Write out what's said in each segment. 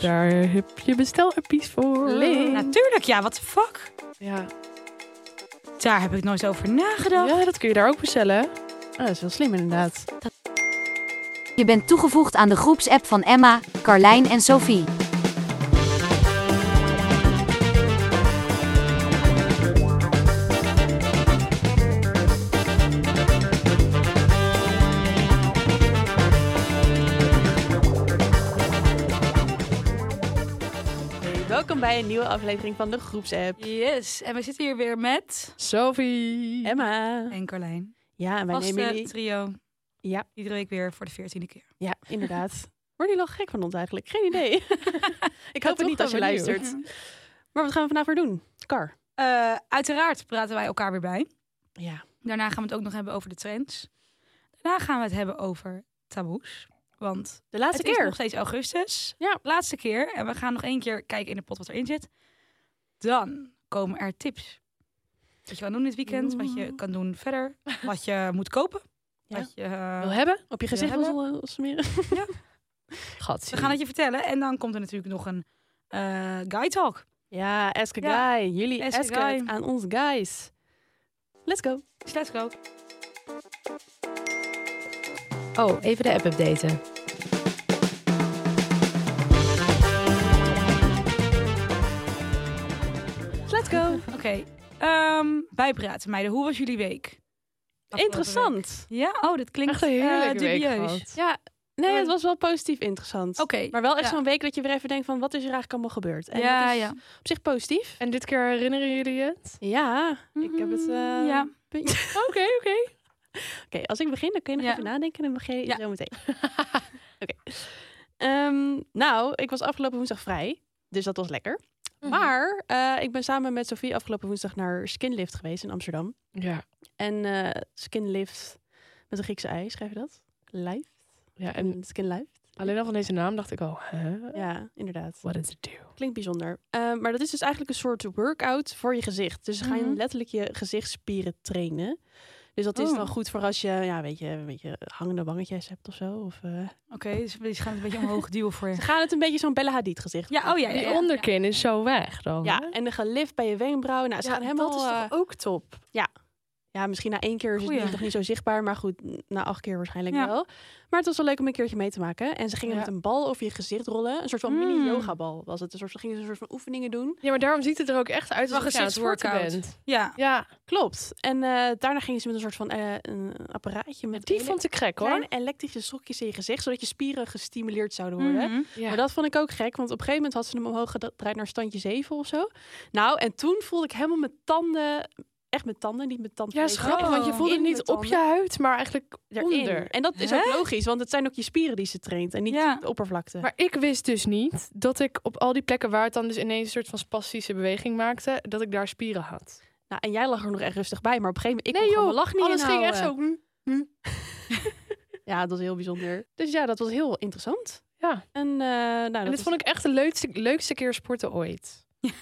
Daar heb je bestelappies voor. Natuurlijk, ja, wat de fuck? Ja. Daar heb ik nooit over nagedacht. ja, dat kun je daar ook bestellen. hè? Ah, dat is wel slim inderdaad. Je bent toegevoegd aan de groepsapp van Emma, Carlijn en Sophie. Hey, welkom bij een nieuwe aflevering van de groepsapp. Yes, en we zitten hier weer met... Sophie. Emma. En Carlijn. Ja, en wij Vaste nemen jullie... trio. Ja. Iedere week weer voor de veertiende keer. Ja, inderdaad. Worden jullie al gek van ons eigenlijk? Geen idee. Ik hoop het toch niet als je wel benieuwd. luistert. Maar wat gaan we vandaag weer doen? Car. Eh, uiteraard praten wij elkaar weer bij. Ja. Daarna gaan we het ook nog hebben over de trends. Daarna gaan we het hebben over taboes. Want De laatste het is keer. nog steeds augustus. Ja. Laatste keer. En we gaan nog één keer kijken in de pot wat erin zit. Dan komen er tips. Wat je kan doen dit weekend. Wat je kan doen verder. Wat je moet kopen. Ja. Wat je, eh, Wil hebben? Op je gezicht eh, Ja, wil hebben. wil- wil smeren. Gat. we gaan het je vertellen. En dan komt er natuurlijk nog een eh guide talk. Ja, ask a Ja. guy. Jullie Ask a asken guy. het aan ons guys. Let's go. Dus let's go. Oh, even de app updaten. Let's go. Oké. ehm, bijpraten meiden. Hoe was jullie week? Afgelopen week. Interessant. Ja, oh, dit klinkt Echt een eh, heerlijke week dubieus. gehad. Ja, nee, het was wel positief interessant. Oké. Maar wel echt Ja. zo'n week dat je weer even denkt van wat is er eigenlijk allemaal gebeurd? En ja, dat is ja. op zich positief. En dit keer herinneren jullie het? Ja, ik heb het... eh, ja. puntje- Oké, oké. Oké, als ik begin, dan kun je nog Ja. even nadenken en dan begin je Ja. zo meteen. Oké. Ehm, nou, ik was afgelopen woensdag vrij, dus dat was lekker. Maar eh, ik ben samen met Sofie afgelopen woensdag naar Skinlift geweest in Amsterdam. Ja. En eh, Skinlift met een Griekse ei, schrijf je dat? Live? ja, en En Skinlife? alleen al van deze naam dacht ik al, hè? Ja, inderdaad. What does it do? Klinkt bijzonder. Eh, maar dat is dus eigenlijk een soort workout voor je gezicht. Dus ze gaan Mhm. letterlijk je gezichtsspieren trainen. Dus dat is Oh. dan goed voor als je, ja, weet je, een beetje hangende wangetjes hebt of zo. Of, eh, Oké, dus we gaan het een beetje omhoog duwen voor Ze je. gaan het een beetje zo'n Bella Hadid gezicht. Ja, oh ja. ja, Oh. Die ja. onderkin is zo weg dan. Ja, hè? en de gelift bij je wenkbrauwen. Nou, ze gaan helemaal... eh, ook top? ja, misschien na één keer is het Goeie. niet, nog niet zo zichtbaar. Maar goed, n- na acht keer waarschijnlijk Ja. wel. Maar het was wel leuk om een keertje mee te maken. En ze gingen Ja. met een bal over je gezicht rollen. Een soort van Mm. mini-yoga-bal was het. Een soort, gingen ze een soort van oefeningen doen. Ja, maar daarom ziet het er ook echt uit als Wel je aan het sporten gezichtsworkout. bent. Ja. Ja, Klopt. En eh, daarna gingen ze met een soort van eh, een apparaatje met die ele- vond ik gek hoor. kleine elektrische sokjes in je gezicht. Zodat je spieren gestimuleerd zouden worden. Mhm. Ja. Maar dat vond ik ook gek, want op een gegeven moment had ze hem omhoog gedraaid naar standje 7 of zo. Nou, en toen voelde ik helemaal mijn tanden, echt mijn tanden, niet mijn Oh. tanden. Ja, is grappig, want je voelde het niet op je huid, maar eigenlijk onder. En dat is ook logisch, want het zijn ook je spieren die ze traint en niet Ja. de oppervlakte. Maar ik wist dus niet dat ik op al die plekken waar het dan dus ineens een soort van spastische beweging maakte, dat ik daar spieren had. nou, en jij lag er nog echt rustig bij, maar op een gegeven moment, ik nee kon joh, gewoon Oh, mijn lach niet alles ging echt inhouden. zo. hm. Ja, dat was heel bijzonder. Dus ja, dat was heel interessant. Ja. En, eh nou, En dit vond ik echt de leukste, leukste keer sporten ooit. Ja,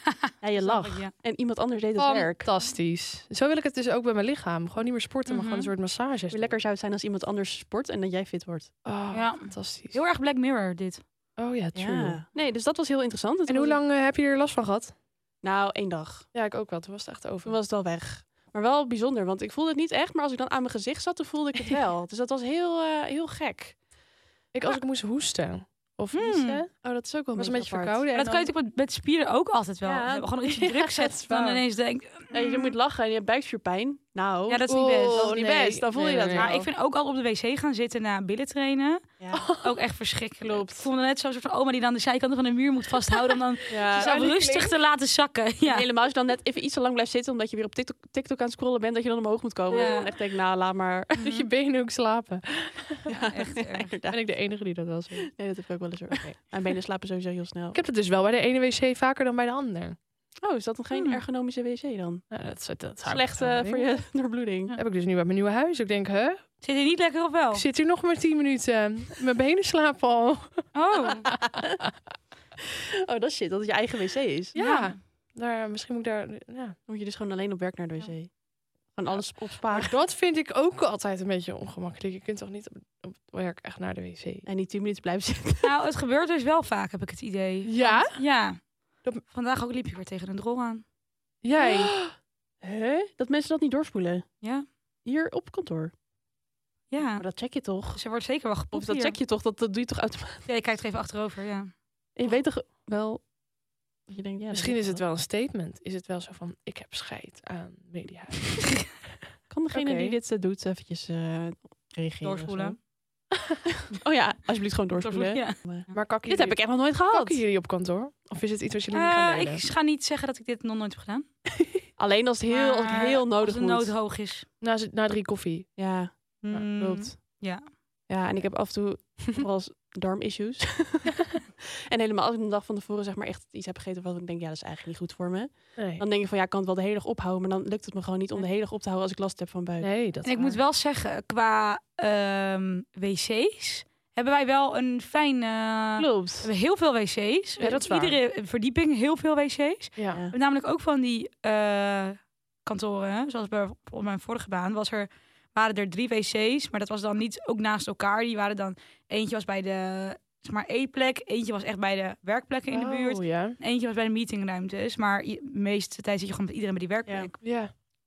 je Snap ik, lag. ja. En iemand anders deed het werk. Fantastisch. Zo wil ik het dus ook bij mijn lichaam. Gewoon niet meer sporten, maar Mhm. gewoon een soort massages. Hoe lekker zou het zijn als iemand anders sport en dat jij fit wordt. Oh, Ja. fantastisch. Heel erg Black Mirror dit. Oh ja, true. Ja. Nee, dus dat was heel interessant. En toen hoe was lang eh, heb je er last van gehad? ik- Nou, één dag. Ja, ik ook wel. Toen was het echt over. Toen was het al weg. Maar wel bijzonder, want ik voelde het niet echt. Maar als ik dan aan mijn gezicht zat, dan voelde ik het wel. Dus dat was heel, eh, heel gek. Ik, als ik moest hoesten. Of Hmm. niezen. Oh, dat is ook wel was een beetje verkouden. Maar en dat kan je natuurlijk met, met spieren ook altijd wel. Ja. Gewoon als je Ja, druk dat zet, is dan waar. ineens denk je moet lachen en je hebt buikspierpijn. Nou, Ja, dat is niet Oeh, best. dat is niet Oh, nee. best. Dan voel je Nee, dat nee, wel. nee. Maar ik vind ook al op de wc gaan zitten na billen trainen Ja. ook echt verschrikkelijk. Klopt. Ik voelde net zo'n soort van oma die dan de zijkant van de muur moet vasthouden om dan Ja. zichzelf rustig te laten zakken. Ja. Helemaal als je dan net even iets te lang blijft zitten... omdat je weer op TikTok, TikTok aan het scrollen bent... dat je dan omhoog moet komen. Ja. En dan echt denk ik, nou, laat maar. Dat je benen ook slapen. echt erg. Ben Inderdaad. ik de enige die dat wel zo Nee, dat heb ik ook wel eens hoor. Mijn benen slapen sowieso heel snel. Ik heb het dus wel bij de ene wc vaker dan bij de ander. Oh, is dat dan geen Hmm. ergonomische wc dan? Ja, dat, is- dat is- Slecht eh, voor je doorbloeding. Heb ik dus nu bij mijn nieuwe huis. Ik denk, hè? Zit hij niet lekker of wel? Ik zit hier nog maar 10 minuten. Mijn benen slapen al. Oh, Oh, dat is shit. Dat het je eigen wc is. Ja. Daar, misschien moet ik daar. Ja. Moet je dus gewoon alleen op werk naar de wc. Van alles opsparen. Maar dat vind ik ook altijd een beetje ongemakkelijk. Je kunt toch niet op, op het werk echt naar de wc? En niet 10 minuten blijven zitten. Nou, het gebeurt dus wel vaak, heb ik het idee. Ja? Ja. Dat- Vandaag ook liep ik weer tegen een drol aan. Jij? Hè? Dat mensen dat niet doorspoelen. Ja. Hier op kantoor. Ja. Maar dat check je toch? Dus er wordt zeker wel gepopt Of dat hier. check je toch? Dat, dat doe je toch automatisch? Ja, je kijkt er even achterover, ja. En je weet toch wel... dat Je denkt, ja, dat Misschien doe is ik het wel een statement. Is het wel zo van, ik heb scheid aan media. Kan degene Oké. die dit eh, doet eventjes eh, reageren? of zo? Doorspoelen. Oh ja, alsjeblieft gewoon doorspoelen. Ja. Maar kakken Dit heb ik echt nog nooit gehad. Kakken jullie op kantoor? Of is het iets wat jullie niet gaan Eh, delen? ik ga niet zeggen dat ik dit nog nooit heb gedaan. Alleen als het heel, als het Maar heel nodig Als de moet. nood hoog is. Na, na drie koffie. Ja, Hmm. Mm. klopt. ja. Ja, en ik heb af en toe vooral eens darmissues. en helemaal als ik een dag van tevoren zeg maar echt iets heb gegeten... waarvan ik denk, ja, dat is eigenlijk niet goed voor me. Nee, Dan denk ik van, ja, ik kan het wel de hele dag ophouden... maar dan lukt het me gewoon niet om de hele dag op te houden als ik last heb van buik. nee dat En ik waar. moet wel zeggen, qua ehm, wc's hebben wij wel een fijne... We Klopt. hebben heel veel wc's. Ja, dat is Op Iedere verdieping heel veel wc's. Ja. Ja. We hebben namelijk ook van die eh, kantoren, zoals bij op mijn vorige baan, was er, waren er drie wc's, maar dat was dan niet ook naast elkaar. Die waren dan, eentje was bij de zeg maar, eetplek, eentje was echt bij de werkplekken in de buurt, Oh, ja. en eentje was bij de meetingruimtes. Maar je- de meeste tijd zit je gewoon met iedereen bij die werkplek.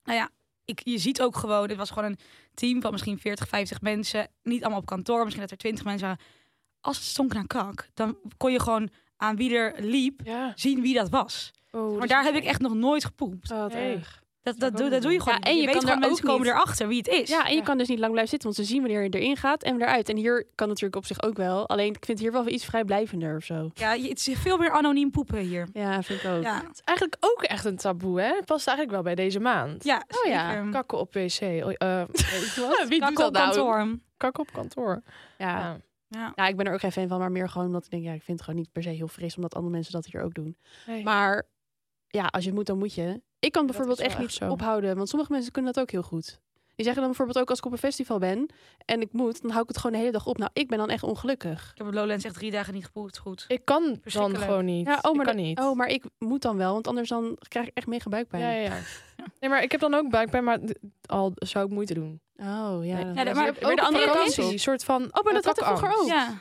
Nou Ja. Ik, je ziet ook gewoon, het was gewoon een team van misschien 40, 50 mensen, niet allemaal op kantoor, misschien dat er 20 mensen waren. Als het stonk naar kak, dan kon je gewoon aan wie er liep ja. zien wie dat was. Oh, Maar daar heb ik echt nog nooit gepoept. Oh, wat Nee. erg. Dat, Zou dat, ik doe, ook dat doe je niet gewoon. Ja, niet. en je weet kan gewoon, er mensen ook komen niet- erachter wie het is. Ja, en je Ja. kan dus niet lang blijven zitten, want ze zien wanneer je erin gaat en weer eruit. En hier kan natuurlijk op zich ook wel. Alleen ik vind hier wel iets vrijblijvender of zo. Ja, je- het is veel meer anoniem poepen hier. Ja, vind ik ook. Ja, Het is eigenlijk ook echt een taboe, hè? Het past eigenlijk wel bij deze maand. ja Oh ja, zeker. Kakken op wc. Oh, eh, weet je wat? Wie Kak doet dat nou? op kantoor. Kakken op kantoor. Ja. Ja. Ja. Ja, ik ben er ook geen fan van, maar meer gewoon omdat ik denk, ja, ik vind het gewoon niet per se heel fris omdat andere mensen dat hier ook doen. Nee. Maar ja, als je het moet, dan moet je. Ik kan bijvoorbeeld is wel echt niet echt zo. ophouden, want sommige mensen kunnen dat ook heel goed. Die zeggen dan bijvoorbeeld ook als ik op een festival ben en ik moet, dan hou ik het gewoon de hele dag op. Nou, ik ben dan echt ongelukkig. Ik heb op Lowlands echt drie dagen niet gepoept. Goed. Ik kan dan Verschrikkelijk. gewoon niet. Ja, oh, maar ik kan dat- niet. Oh, maar ik moet dan wel, want anders dan krijg ik echt mega buikpijn. ja, ja, ja. Nee, maar ik heb dan ook buikpijn, maar d- al zou ik moeite doen. Oh, ja. Nee. dat- Ja, Dus maar je hebt ook weer de op andere vakantie. kant. Een soort van. Oh, maar dat had ik vroeger ook. Ja.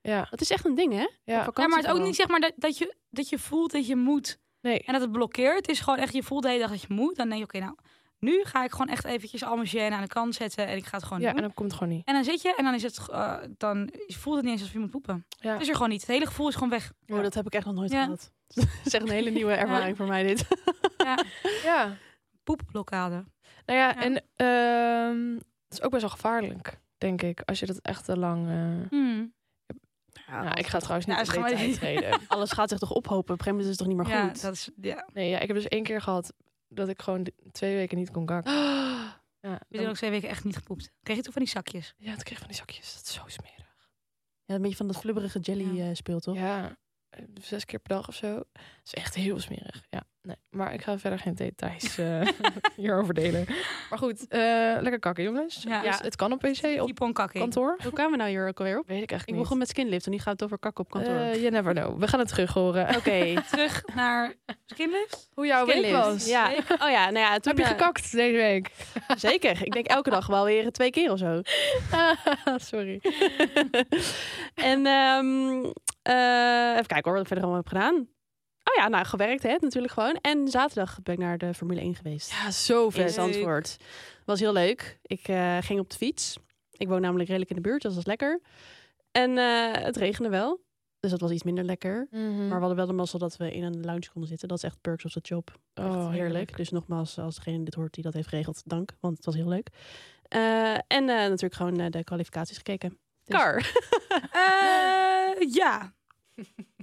Ja, Dat is echt een ding, hè? ja. Op ja, maar het vakantie ook niet Oh, zeg maar dat, dat, je, dat je voelt dat je moet Nee. en dat het blokkeert. Het is gewoon echt, je voelt de hele dag dat je moet. Dan denk je, oké, nou, nu ga ik gewoon echt eventjes al mijn gêne aan de kant zetten en ik ga het gewoon Ja, doen. en dan komt het gewoon niet. En dan zit je en dan is het, eh, dan voelt het niet eens alsof je moet poepen. Ja. Het is er gewoon niet. Het hele gevoel is gewoon weg. vooral. Oh, dat heb ik echt nog nooit Ja. gehad. Dat is echt een hele nieuwe ervaring voor mij dit. Ja. Poepblokkade. Nou ja, Ja. en ehm, het is ook best wel gevaarlijk, denk ik, als je dat echt te lang. eh, Hmm. nou, ik ga trouwens Nou, niet dat gaan in we detail niet. treden. Alles gaat zich toch ophopen. Op een gegeven moment is het toch niet meer ja, goed. dat is, ja. Nee, ja, ik heb dus één keer gehad dat ik gewoon d- twee weken niet kon kakken. Ja, We zijn dan- ook twee weken echt niet gepoept. Kreeg je toen van die zakjes? ja, het kreeg van die zakjes. Dat is zo smerig. Ja, een beetje van dat flubberige jelly Ja. eh, speelt, toch? Ja, eh, zes keer per dag of zo. Dat is echt heel smerig. Ja, nee. Maar ik ga verder geen details eh, hierover delen. Maar goed, eh, lekker kakken, jongens. Ja. Ja, het kan op wc, op Keep on kakking. kantoor. Hoe kwamen we nou hier ook alweer op? Weet ik echt Ik niet. begon met skinlift en nu gaat het over kak op kantoor. Eh, you never know. We gaan het terug horen. Oké. Terug naar skinlift. Hoe jouw week Skinlift. was. Ja. Oh ja, nou ja, toen Heb je eh, gekakt deze week? Zeker. Ik denk elke dag wel weer twee keer of zo. Sorry. en ehm, eh, even kijken hoor, wat ik verder allemaal heb gedaan. Oh ja, nou gewerkt hè, natuurlijk gewoon. En zaterdag ben ik naar de Formule 1 geweest. Ja, zo in vet. Zandvoort. Was heel leuk. Ik eh, ging op de fiets. Ik woon namelijk redelijk in de buurt, dus dat was lekker. En eh, het regende wel, dus dat was iets minder lekker. Hm. Mhm. Maar we hadden wel de mazzel dat we in een lounge konden zitten. Dat is echt perks of the job. Echt Oh, heerlijk. heerlijk. Dus nogmaals, als degene dit hoort die dat heeft geregeld, dank. Want het was heel leuk. Eh, en eh, natuurlijk gewoon eh, de kwalificaties gekeken. Kar. Eh, ja.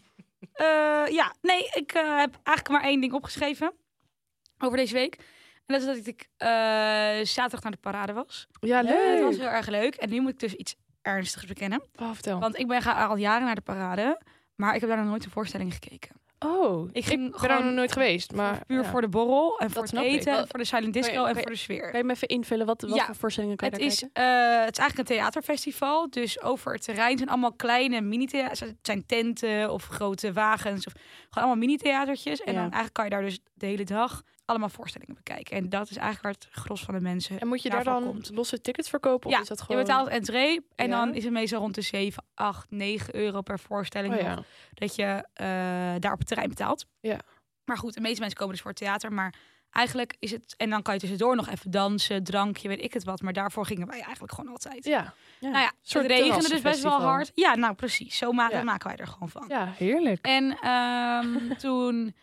Eh, ja, nee, ik eh, heb eigenlijk maar één ding opgeschreven over deze week. En dat is dat ik eh, zaterdag naar de parade was. Ja, En leuk. Het was heel erg leuk. En nu moet ik dus iets ernstigs bekennen. Oh, vertel. Want ik ben ga al jaren naar de parade. Maar ik heb daar nog nooit een voorstelling gekeken. Oh, Ik ik, ging ben gewoon daar nog nooit geweest. Maar Puur ja. voor de borrel en voor het snap ik. eten, en Wel- voor de silent disco kan je- en kan voor de sfeer. Kan je me even invullen? Wat, wat Ja. voor voorstellingen kan je Het daar is, kijken? eh, het is eigenlijk een theaterfestival. Dus over het terrein zijn allemaal kleine mini-theaters. Het zijn tenten of grote wagens. Of gewoon allemaal mini-theatertjes. En Ja. dan eigenlijk kan je daar dus de de hele dag allemaal voorstellingen bekijken. En dat is eigenlijk waar het gros van de mensen En moet je daar daarvan dan komt. losse tickets verkopen? Ja, of is dat gewoon... Je betaalt entree en Ja. dan is het meestal rond de 7, 8, 9 euro per voorstelling Oh nog ja. dat je eh, daar op het terrein betaalt. Ja. Maar goed, de meeste mensen komen dus voor het theater, maar eigenlijk is het... En dan kan je tussendoor nog even dansen, drankje, weet ik het wat. Maar daarvoor gingen wij eigenlijk gewoon altijd. Ja. Nou ja, soort het regende dus best wel terrassenfestival. hard. Ja, nou precies. Zo maken, Ja. maken wij er gewoon van. ja, heerlijk. En ehm, toen...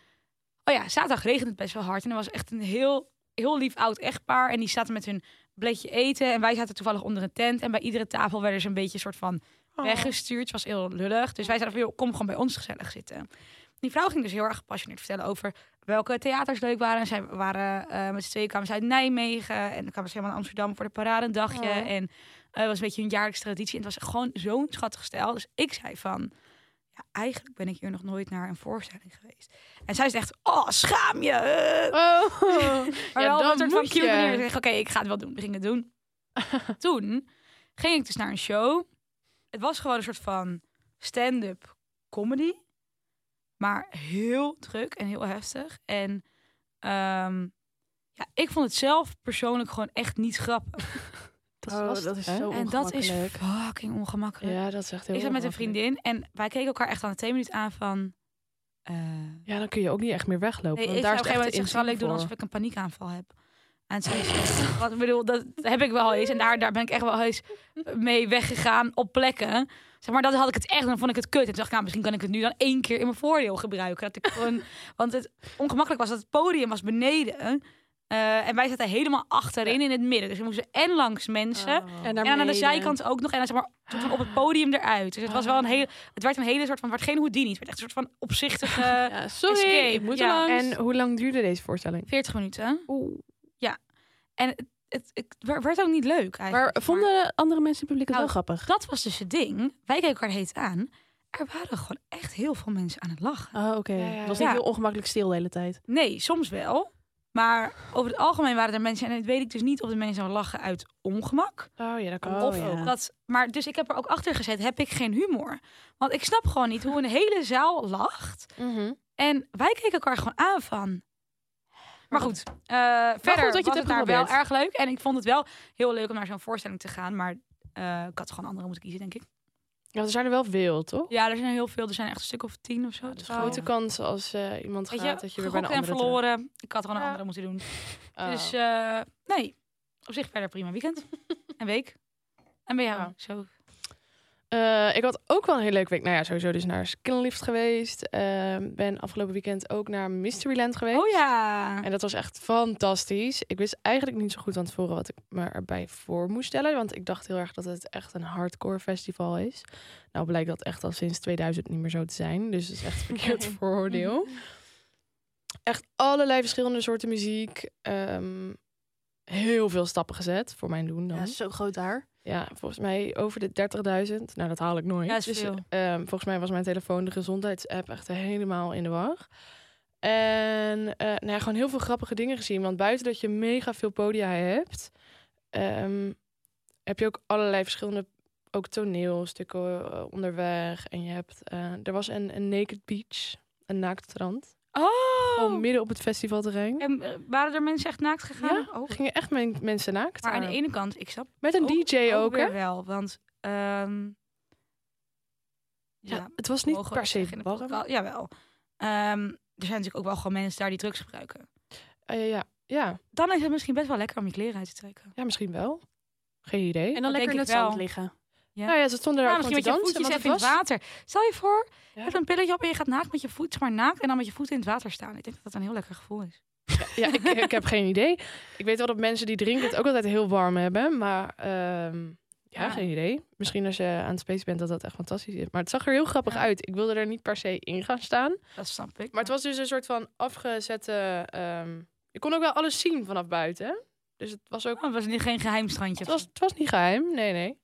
Oh ja, zaterdag regende het best wel hard. En er was echt een heel, heel lief oud echtpaar. En die zaten met hun bledje eten. En wij zaten toevallig onder een tent. En bij iedere tafel werden ze een beetje een soort van Oh. weggestuurd. Het was heel lullig. Dus wij zeiden van, joh, kom gewoon bij ons gezellig zitten. Die vrouw ging dus heel erg gepassioneerd vertellen over welke theaters leuk waren. En zij waren eh, met z'n tweeën kwamen ze uit Nijmegen. En dan kwamen ze helemaal naar Amsterdam voor de parade een dagje. Oh. En eh, het was een beetje een jaarlijkse traditie. En het was gewoon zo'n schattig stijl. Dus ik zei van, ja, eigenlijk ben ik hier nog nooit naar een voorstelling geweest. En zij is echt, oh, schaam je. eh." Oh, Maar wel Ja, op dan een soort van moet cute je. manier. Ik zeg, oké, ik ga het wel doen. We gingen het doen. Toen ging ik dus naar een show. Het was gewoon een soort van stand-up comedy. Maar heel druk en heel heftig. En ehm, ja, ik vond het zelf persoonlijk gewoon echt niet grappig. Dat is lastig, dat is hè? zo en Oh, dat is ongemakkelijk. fucking ongemakkelijk. Ja, dat is echt heel ik zat met een ongemakkelijk. vriendin en wij keken elkaar echt aan de twee minuten aan van... eh, Ja, dan kun je ook niet echt meer weglopen. Nee, want ik daar zou op is een gegeven moment het zeggen, echt zal ik doen voor. alsof ik een paniekaanval heb? En toen zei ze, wat ik bedoel, dat heb ik wel eens. En daar, daar ben ik echt wel eens mee weggegaan op plekken. Zeg maar, dat had ik het echt en dan vond ik het kut. En toen dacht ik, nou, misschien kan ik het nu dan één keer in mijn voordeel gebruiken. Dat ik gewoon, want het ongemakkelijk was dat het podium was beneden. Eh, en wij zaten helemaal achterin in het midden. Dus we moesten en langs Oh, mensen. En, eh, En daar dan aan nou, de beneden. zijkant ook nog. En dan zeg maar soort van op het podium eruit. Dus het was wel een hele... Het werd een hele soort van... Het werd geen Houdini. Het werd echt een soort van opzichtige... Ja, sorry, escape, ik moet ja. er langs. En hoe lang duurde deze voorstelling? 40 minuten. Ja. En het, het, het wer- werd ook niet leuk eigenlijk. maar Oh. vonden andere mensen in het publiek het Nou, wel grappig? Dat was dus het ding. Wij keken elkaar heet aan. Er waren gewoon echt heel veel mensen aan het lachen. Oh, oké. Ja, ja, Het was ja. niet heel ongemakkelijk stil de hele tijd. Nee, soms wel. Maar over het algemeen waren er mensen... En dat weet ik dus niet of de mensen aan het lachen uit ongemak. Oh ja, dat kan Oh, ook. of ja. dat... Maar dus ik heb er ook achter gezet, heb ik geen humor. Want ik snap gewoon niet hoe een hele zaal lacht. Mhm. En wij keken elkaar gewoon aan van. Maar goed, eh, verder goed dat je het was hebt het daar wel geprobeerd. erg leuk. En ik vond het wel heel leuk om naar zo'n voorstelling te gaan. Maar eh, ik had gewoon andere moeten kiezen, denk ik. Ja, er zijn er wel veel, toch? Ja, er zijn er heel veel. Er zijn echt een stuk of tien of zo. Dus twaalf. grote kans als eh, iemand Oh. Weet gaat je, dat je weer bij een en andere terecht- verloren. Ik had gewoon een Ja. andere moeten doen. Oh. Dus eh, nee, op zich verder prima weekend. en week. En bij jou Ja. zo. Eh, ik had ook wel een heel leuk week. Nou ja, sowieso dus naar Skinlift geweest. Eh, ben afgelopen weekend ook naar Mysteryland geweest. Oh ja. En dat was echt fantastisch. Ik wist eigenlijk niet zo goed van tevoren wat ik me erbij voor moest stellen. Want ik dacht heel erg dat het echt een hardcore festival is. Nou blijkt dat echt al sinds 2000 niet meer zo te zijn. Dus het is echt een verkeerd vooroordeel. Echt allerlei verschillende soorten muziek. Ehm, heel veel stappen gezet, voor mijn doen dan. Ja, zo groot daar. Ja, volgens mij over de 30.000. Nou, dat haal ik nooit. Ja, is dus veel. ehm, volgens mij was mijn telefoon de gezondheidsapp echt helemaal in de war. En eh nou ja, gewoon heel veel grappige dingen gezien. Want buiten dat je mega veel podia hebt, ehm, heb je ook allerlei verschillende ook toneelstukken eh, onderweg. En je hebt, eh, er was een, een naked beach, een naakt strand. Gewoon Oh. midden op het festivalterrein. En eh, waren er mensen echt naakt gegaan? Ja, eh? Oh. Gingen echt men- mensen naakt. Maar aan de daar. ene kant, ik snap Met een ook- DJ ook, hè? weer wel, want ehm, Ja, het was niet mogen we per se zeggen in de warm. podcast? Jawel. Ehm, er zijn natuurlijk ook wel gewoon mensen daar die drugs gebruiken. Eh, ja, ja. Dan is het misschien best wel lekker om je kleren uit te trekken. ja, misschien wel. Geen idee. En Dat dan denk lekker in ik het wel. zand liggen. Nou ja, ze stonden daar Nou, ook misschien met je gewoon te voetjes dansen. even want in het het was- water. Stel je voor, je Ja. hebt een pilletje op en je gaat naakt met je voet, maar naakt en dan met je voeten in het water staan. Ik denk dat dat een heel lekker gevoel is. Ja, ik, ik heb geen idee. Ik weet wel dat mensen die drinken het ook altijd heel warm hebben. Maar ehm, ja, Ja. geen idee. Misschien als je aan het space bent dat dat echt fantastisch is. Maar het zag er heel grappig Ja. uit. Ik wilde er niet per se in gaan staan. Dat snap ik. Maar het was dus een soort van afgezette... ehm, je kon ook wel alles zien vanaf buiten. Dus het was ook... Oh, het was niet, geen geheim strandje. Het was, het was niet geheim. Nee, nee.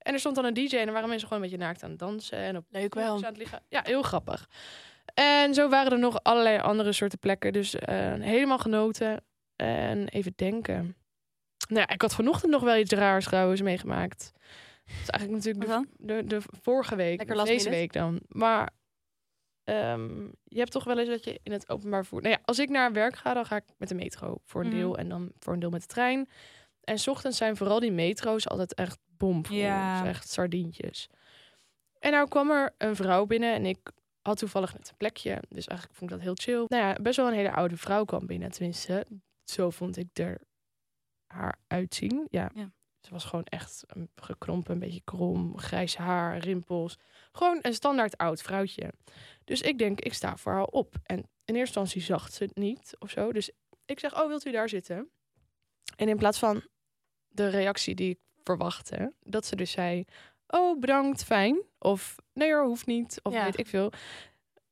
En er stond dan een DJ en er waren mensen gewoon een beetje naakt aan het dansen. En op Leuk Dus aan het liggen. Ja, heel grappig. En zo waren er nog allerlei andere soorten plekken. Dus eh, helemaal genoten. En even denken. Nou ja, ik had vanochtend nog wel iets raars trouwens meegemaakt. Dat is Wat eigenlijk natuurlijk dan? de, de, de vorige week. Lekker dus last deze minute. week dan. Maar eh, ehm, je hebt toch wel eens dat je in het openbaar vervoer... Nou ja, als ik naar werk ga, dan ga ik met de metro voor een Mhm. deel. En dan voor een deel met de trein. En 's ochtends zijn vooral die metro's altijd echt bomvol. Ja. Het is echt sardientjes. En nou kwam er een vrouw binnen en ik had toevallig net een plekje. Dus eigenlijk vond ik dat heel chill. Nou ja, best wel een hele oude vrouw kwam binnen. Tenminste, zo vond ik er haar uitzien. Ja. Ja. Ze was gewoon echt um, gekrompen, een beetje krom, grijs haar, rimpels. Gewoon een standaard oud vrouwtje. Dus ik denk, ik sta voor haar op. En in eerste instantie zag ze het niet of zo. Dus ik zeg, oh, wilt u daar zitten? En in plaats van de reactie die ik verwachtte, dat ze dus zei, oh, bedankt, fijn. Of nee hoor, hoeft niet. Of Ja. weet ik veel.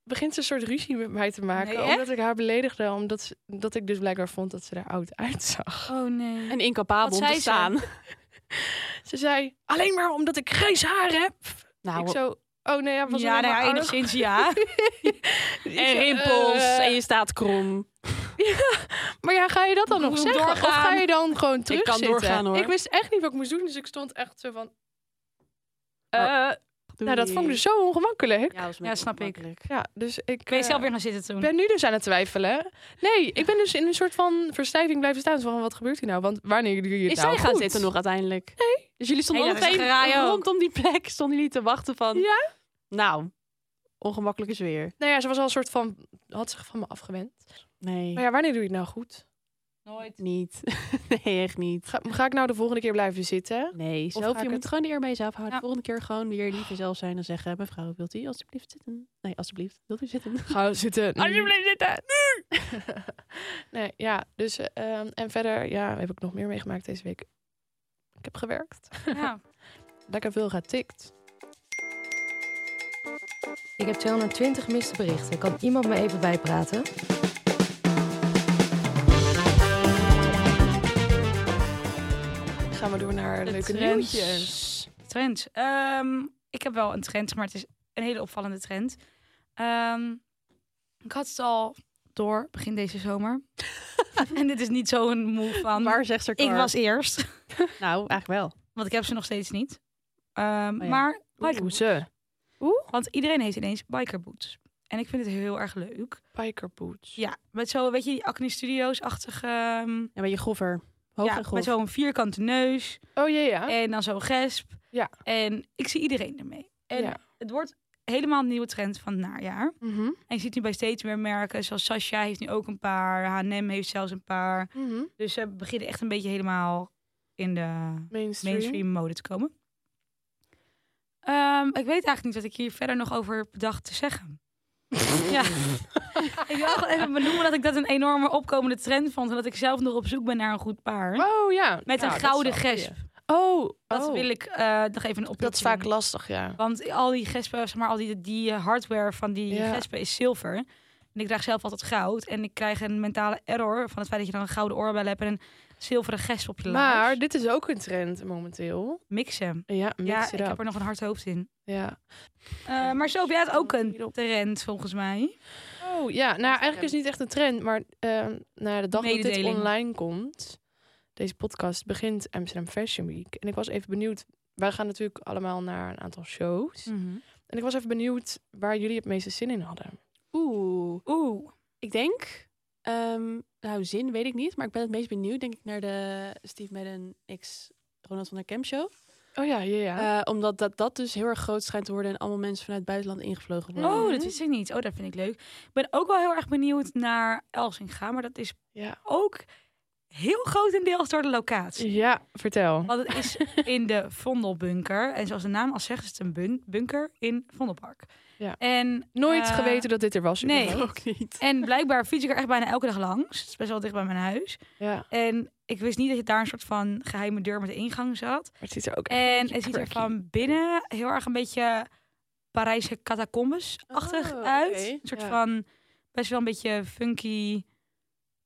Begint ze een soort ruzie met mij te maken. Nee, echt? omdat ik haar beledigde. Omdat ze- dat ik dus blijkbaar vond dat ze er oud uitzag. Oh nee. En incapabel om Wat zei te ze? staan. Ze zei, alleen maar omdat ik grijs haar heb. Nou, ik zo, oh nee, ja, was ja, nou alleen ja, maar enigszins ja. oud. Ik en zo, rimpels. eh, en je staat krom. Maar ja, ga je dat dan nog Gewoon zeggen? Of doorgaan. ga je dan gewoon terug kan doorgaan, hoor. Ik wist echt niet wat ik moest doen, dus ik stond echt zo van... eh, nou, dat vond ik dus zo ongemakkelijk. Ja, Ja, snap ik. Ja, dus ik... Ik ben eh, zelf weer gaan zitten toen. Ik ben nu dus aan het twijfelen. Nee, ik ben dus in een soort van verstijving blijven staan. Zo Van, wat gebeurt hier nou? Want wanneer doe je het Is nou zij gaan goed? zitten nog uiteindelijk? Nee. Dus jullie stonden Hela, alle dat is een twee geraai ook. rondom die plek. Stonden jullie te wachten van... Ja? Nou, ongemakkelijk is weer. Nou ja, ze was al een soort van... Had zich van me afgewend. Nee, Maar ja, wanneer doe je het nou goed? Nooit. niet. nee, echt niet. Ga, ga ik nou de volgende keer blijven zitten? Nee, ga zelf, ik je moet het- gewoon de eer bij jezelf houden. Ja. De volgende keer gewoon weer lief jezelf zijn en zeggen... Mevrouw, wilt u alstublieft zitten? Nee, alstublieft. Wilt u zitten? Ga zitten. Alsjeblieft zitten. Nee, ja. Dus, ehm, en verder, ja, heb ik nog meer meegemaakt deze week. Ik heb gewerkt. Ja. Lekker veel getikt. Ik heb 220 miste berichten. Kan iemand me even bijpraten? Gaan we door naar De leuke trends. nieuwtjes. Trends. Ehm, ik heb wel een trend, maar het is een hele opvallende trend. Ehm, ik had het al door begin deze zomer. en dit is niet zo'n move van. Waar zegt ze ik was eerst, Nou, eigenlijk wel. want ik heb ze nog steeds niet. Ehm, ja. Maar biker Oh Oeh, ze. Want iedereen heeft ineens bikerboots. En ik vind het heel erg leuk. Bikerboots. Ja, met zo, weet je, die Acne Studios-achtige... ehm, Een beetje grover. Hoog ja, en grof. met zo'n vierkante neus. Oh jee, ja. En dan zo'n gesp. Ja. En ik zie iedereen ermee. En Ja. het wordt helemaal een nieuwe trend van het najaar. Mhm, En je ziet nu bij steeds meer merken, zoals Sasha heeft nu ook een paar. H&M heeft zelfs een paar. mhm. Dus ze beginnen echt een beetje helemaal in de Mainstream. mainstream mode te komen. Ehm, ik weet eigenlijk niet wat ik hier verder nog over heb bedacht te zeggen. ja. ik wil gewoon even benoemen dat ik dat een enorme opkomende trend vond. En dat ik zelf nog op zoek ben naar een goed paar. Oh ja. Met Nou, een dat gouden zal- gesp. Oh, Dat oh. wil ik eh, nog even een oproep Dat is doen. vaak lastig, ja. Want al die gespen, zeg maar, al die, die eh, hardware van die Ja. gespen is zilver. En ik draag zelf altijd goud. En ik krijg een mentale error van het feit dat je dan een gouden oorbel hebt en een zilveren gesp op je Maar laars. dit is ook een trend momenteel. Mixen. Ja, mix Ja, it ik up. heb er nog een hard hoofd in. Ja. Eh, maar zo heb jij het ook een Hierop. trend, volgens mij. Oh ja, nou eigenlijk is het niet echt een trend, maar ehm nou, de dag dat dit Mededeling. online komt, deze podcast begint Amsterdam Fashion Week. En ik was even benieuwd, wij gaan natuurlijk allemaal naar een aantal shows. Mm. En ik was even benieuwd waar jullie het meeste zin in hadden. Oeh. Oeh. Ik denk... ehm, nou, zin weet ik niet. Maar ik ben het meest benieuwd, denk ik, naar de Steve Madden X Ronald van der Kemp show. Oh ja, ja, ja. Eh, omdat dat, dat dus heel erg groot schijnt te worden en allemaal mensen vanuit het buitenland ingevlogen worden. Oh, dat Mhm. wist ik niet. Oh, dat vind ik leuk. Ik ben ook wel heel erg benieuwd naar Elsinga. Maar dat is ja. ook heel grotendeels door de locatie. ja, vertel. Want het is in de Vondelbunker. En zoals de naam al zegt, is het een bun- bunker in Vondelpark. Ja. En, Nooit eh, geweten dat dit er was. nee. überhaupt. ook niet. En blijkbaar fiets ik er echt bijna elke dag langs. Het is best wel dicht bij mijn huis. Ja, maar En ik wist niet dat je daar een soort van geheime deur met een ingang zat. het ziet er ook echt een En beetje het ziet er quirky. van binnen heel erg een beetje Parijse catacombes-achtig Oh, uit. oké. Een soort Ja. van best wel een beetje funky.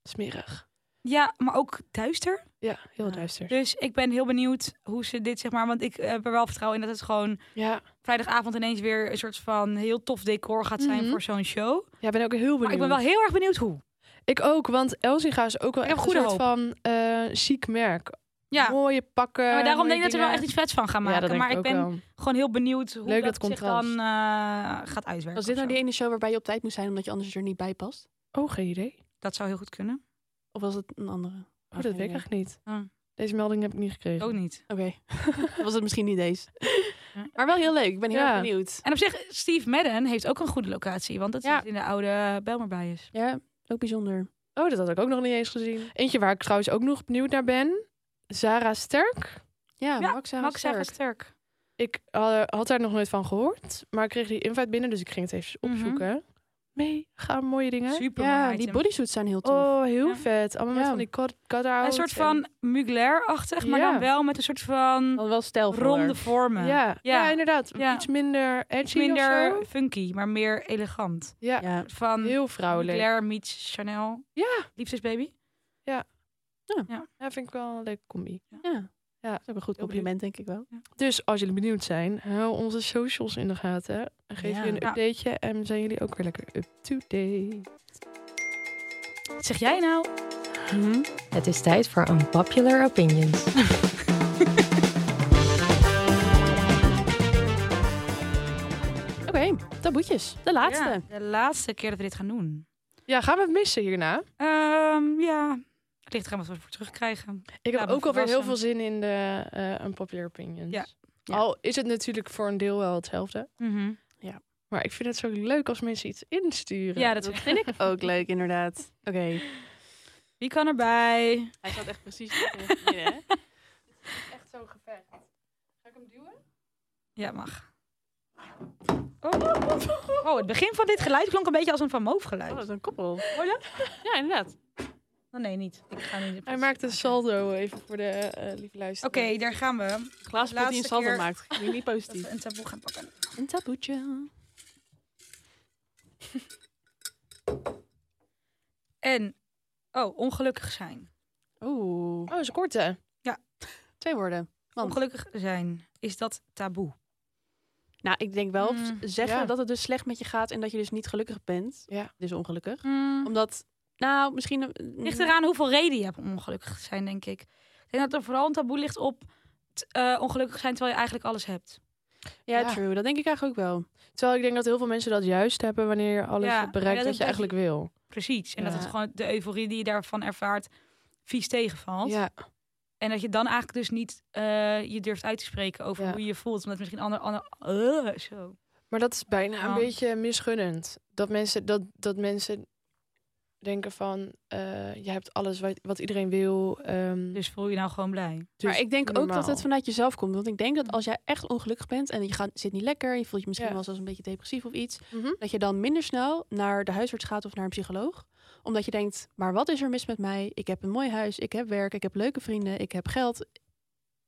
Smerig. Ja, maar ook duister. Ja, heel Ja. duister. Dus ik ben heel benieuwd hoe ze dit, zeg maar... Want ik eh, heb er wel vertrouwen in dat het gewoon Ja, vrijdagavond ineens weer een soort van heel tof decor gaat zijn Mhm. voor zo'n show. ja, ik ben ook heel benieuwd. Maar ik ben wel heel erg benieuwd hoe. Ik ook, want Elsinga is ook wel Ik echt heb een goede soort van eh chic merk. Ja. Mooie pakken. maar daarom mooie denk ik dat we er wel dingen. echt iets vets van gaan Ja, maken. dat denk maar ik ik ook ben wel. gewoon heel benieuwd hoe Leuk dat, dat zich dan contrast. eh, gaat uitwerken. Was dit of nou zo. die ene show waarbij je op tijd moest zijn omdat je anders er niet bij past? Oh, geen idee. Dat zou heel goed kunnen. Of was het een andere? Oh, dat weet ik Oké. echt niet. Ah. Deze melding heb ik niet gekregen. Ook niet. was het misschien niet deze? Ja. Maar wel heel leuk. Ik ben heel Ja. erg benieuwd. En op zich, Steve Madden heeft ook een goede locatie. Want dat Ja. is in de oude Belmerbij is. Ja, ook bijzonder. Oh, dat had ik ook nog niet eens gezien. Eentje waar ik trouwens ook nog benieuwd naar ben. Zara Sterk. Ah, Ja, Ja, Max Sarah Max zeggen Sterk. sterk. Ik eh, had daar nog nooit van gehoord. Maar ik kreeg die invite binnen, dus ik ging het even Mhm. opzoeken. Mee, gaan mooie dingen. Super mooi Ja, die item. bodysuits zijn heel tof. Oh, heel Ja. vet. Allemaal met Ja. van die cut- cutouts. Een soort en- van Mugler-achtig, maar Ja. dan wel met een soort van Dan wel stijlvoller. ronde vormen. Ja, ja. Ja. inderdaad. Ja. Iets minder edgy of zo. Minder funky, maar meer elegant. Ja, Ja. Van heel vrouwelijk. Mugler meets Chanel. Ja. Liefdesbaby. ja, vind ik wel een leuke combi. ja. Ja. Dat is ook een goed Heel compliment, denk ik wel. Dus als jullie benieuwd zijn, hou onze socials in de gaten. En geef Ja. je een Ja. updateje en zijn jullie ook weer lekker up-to-date. Wat zeg jij nou? Het is tijd voor Unpopular Opinions. Oké, taboetjes. De laatste. Ja, de laatste keer dat we dit gaan doen. Ja, gaan we het missen hierna? Ehm, ja, het ligt er aan wat we voor terugkrijgen. Ik Ja, heb me ook alweer heel veel verrassen. zin in de eh unpopular opinions. Ja. Ja. Al is het natuurlijk voor een deel wel hetzelfde. Mhm. Maar ik vind het zo leuk als mensen iets insturen. Ja, dat Dat is vind ik ook leuk, inderdaad. Oké. Wie kan erbij? Hij zat echt precies binnen, hè? echt zo'n gevecht. Ga ik hem duwen? Ja, mag. Oh. oh, het begin van dit geluid klonk een beetje als een Van Moof Oh, geluid. dat is een koppel. Ja, inderdaad. Oh, nee, niet. Ik ga niet Hij maakt een Oké. saldo even voor de eh lieve luisteraar. Oké, daar gaan we. Glazen pot die een Laatste saldo keer- maakt. Ik ben Niet Dat we positief. een taboe gaan pakken. Een taboetje. En, oh, ongelukkig zijn. Oeh. Oh, is een korte. Twee woorden. Want- Ongelukkig zijn, is dat taboe? Nou, ik denk wel Mm, zeggen ja. dat het dus slecht met je gaat en dat je dus niet gelukkig bent. Ja. Hm. Dus ongelukkig. Omdat, nou, misschien... een- Ligt eraan hoeveel reden je hebt om ongelukkig te zijn, denk ik. Ik denk dat er vooral een taboe ligt op t- eh, ongelukkig zijn terwijl je eigenlijk alles hebt. Ja, Ja. true. Dat denk ik eigenlijk ook wel. Terwijl ik denk dat heel veel mensen dat juist hebben wanneer je alles Ja, hebt maar bereikt wat dat je is dat- eigenlijk wil. Precies. En dat Ja. het gewoon de euforie die je daarvan ervaart vies tegenvalt. Ja, En dat je dan eigenlijk dus niet eh, je durft uit te spreken over Ja. hoe je je voelt. Omdat misschien ander... ander eh, zo. maar dat is bijna een Ja. beetje misgunnend. Dat mensen, dat, dat mensen denken van, eh, je hebt alles wat, wat iedereen wil. ehm, Dus voel je nou gewoon blij. dus maar ik denk ook dat normaal. Hm. het vanuit jezelf komt. Want ik denk dat als jij echt ongelukkig bent en je gaat, zit niet lekker... je voelt je misschien Ja. wel zelfs een beetje depressief of iets... Mhm. dat je dan minder snel naar de huisarts gaat of naar een psycholoog. Omdat je denkt, maar wat is er mis met mij? Ik heb een mooi huis, ik heb werk, ik heb leuke vrienden, ik heb geld.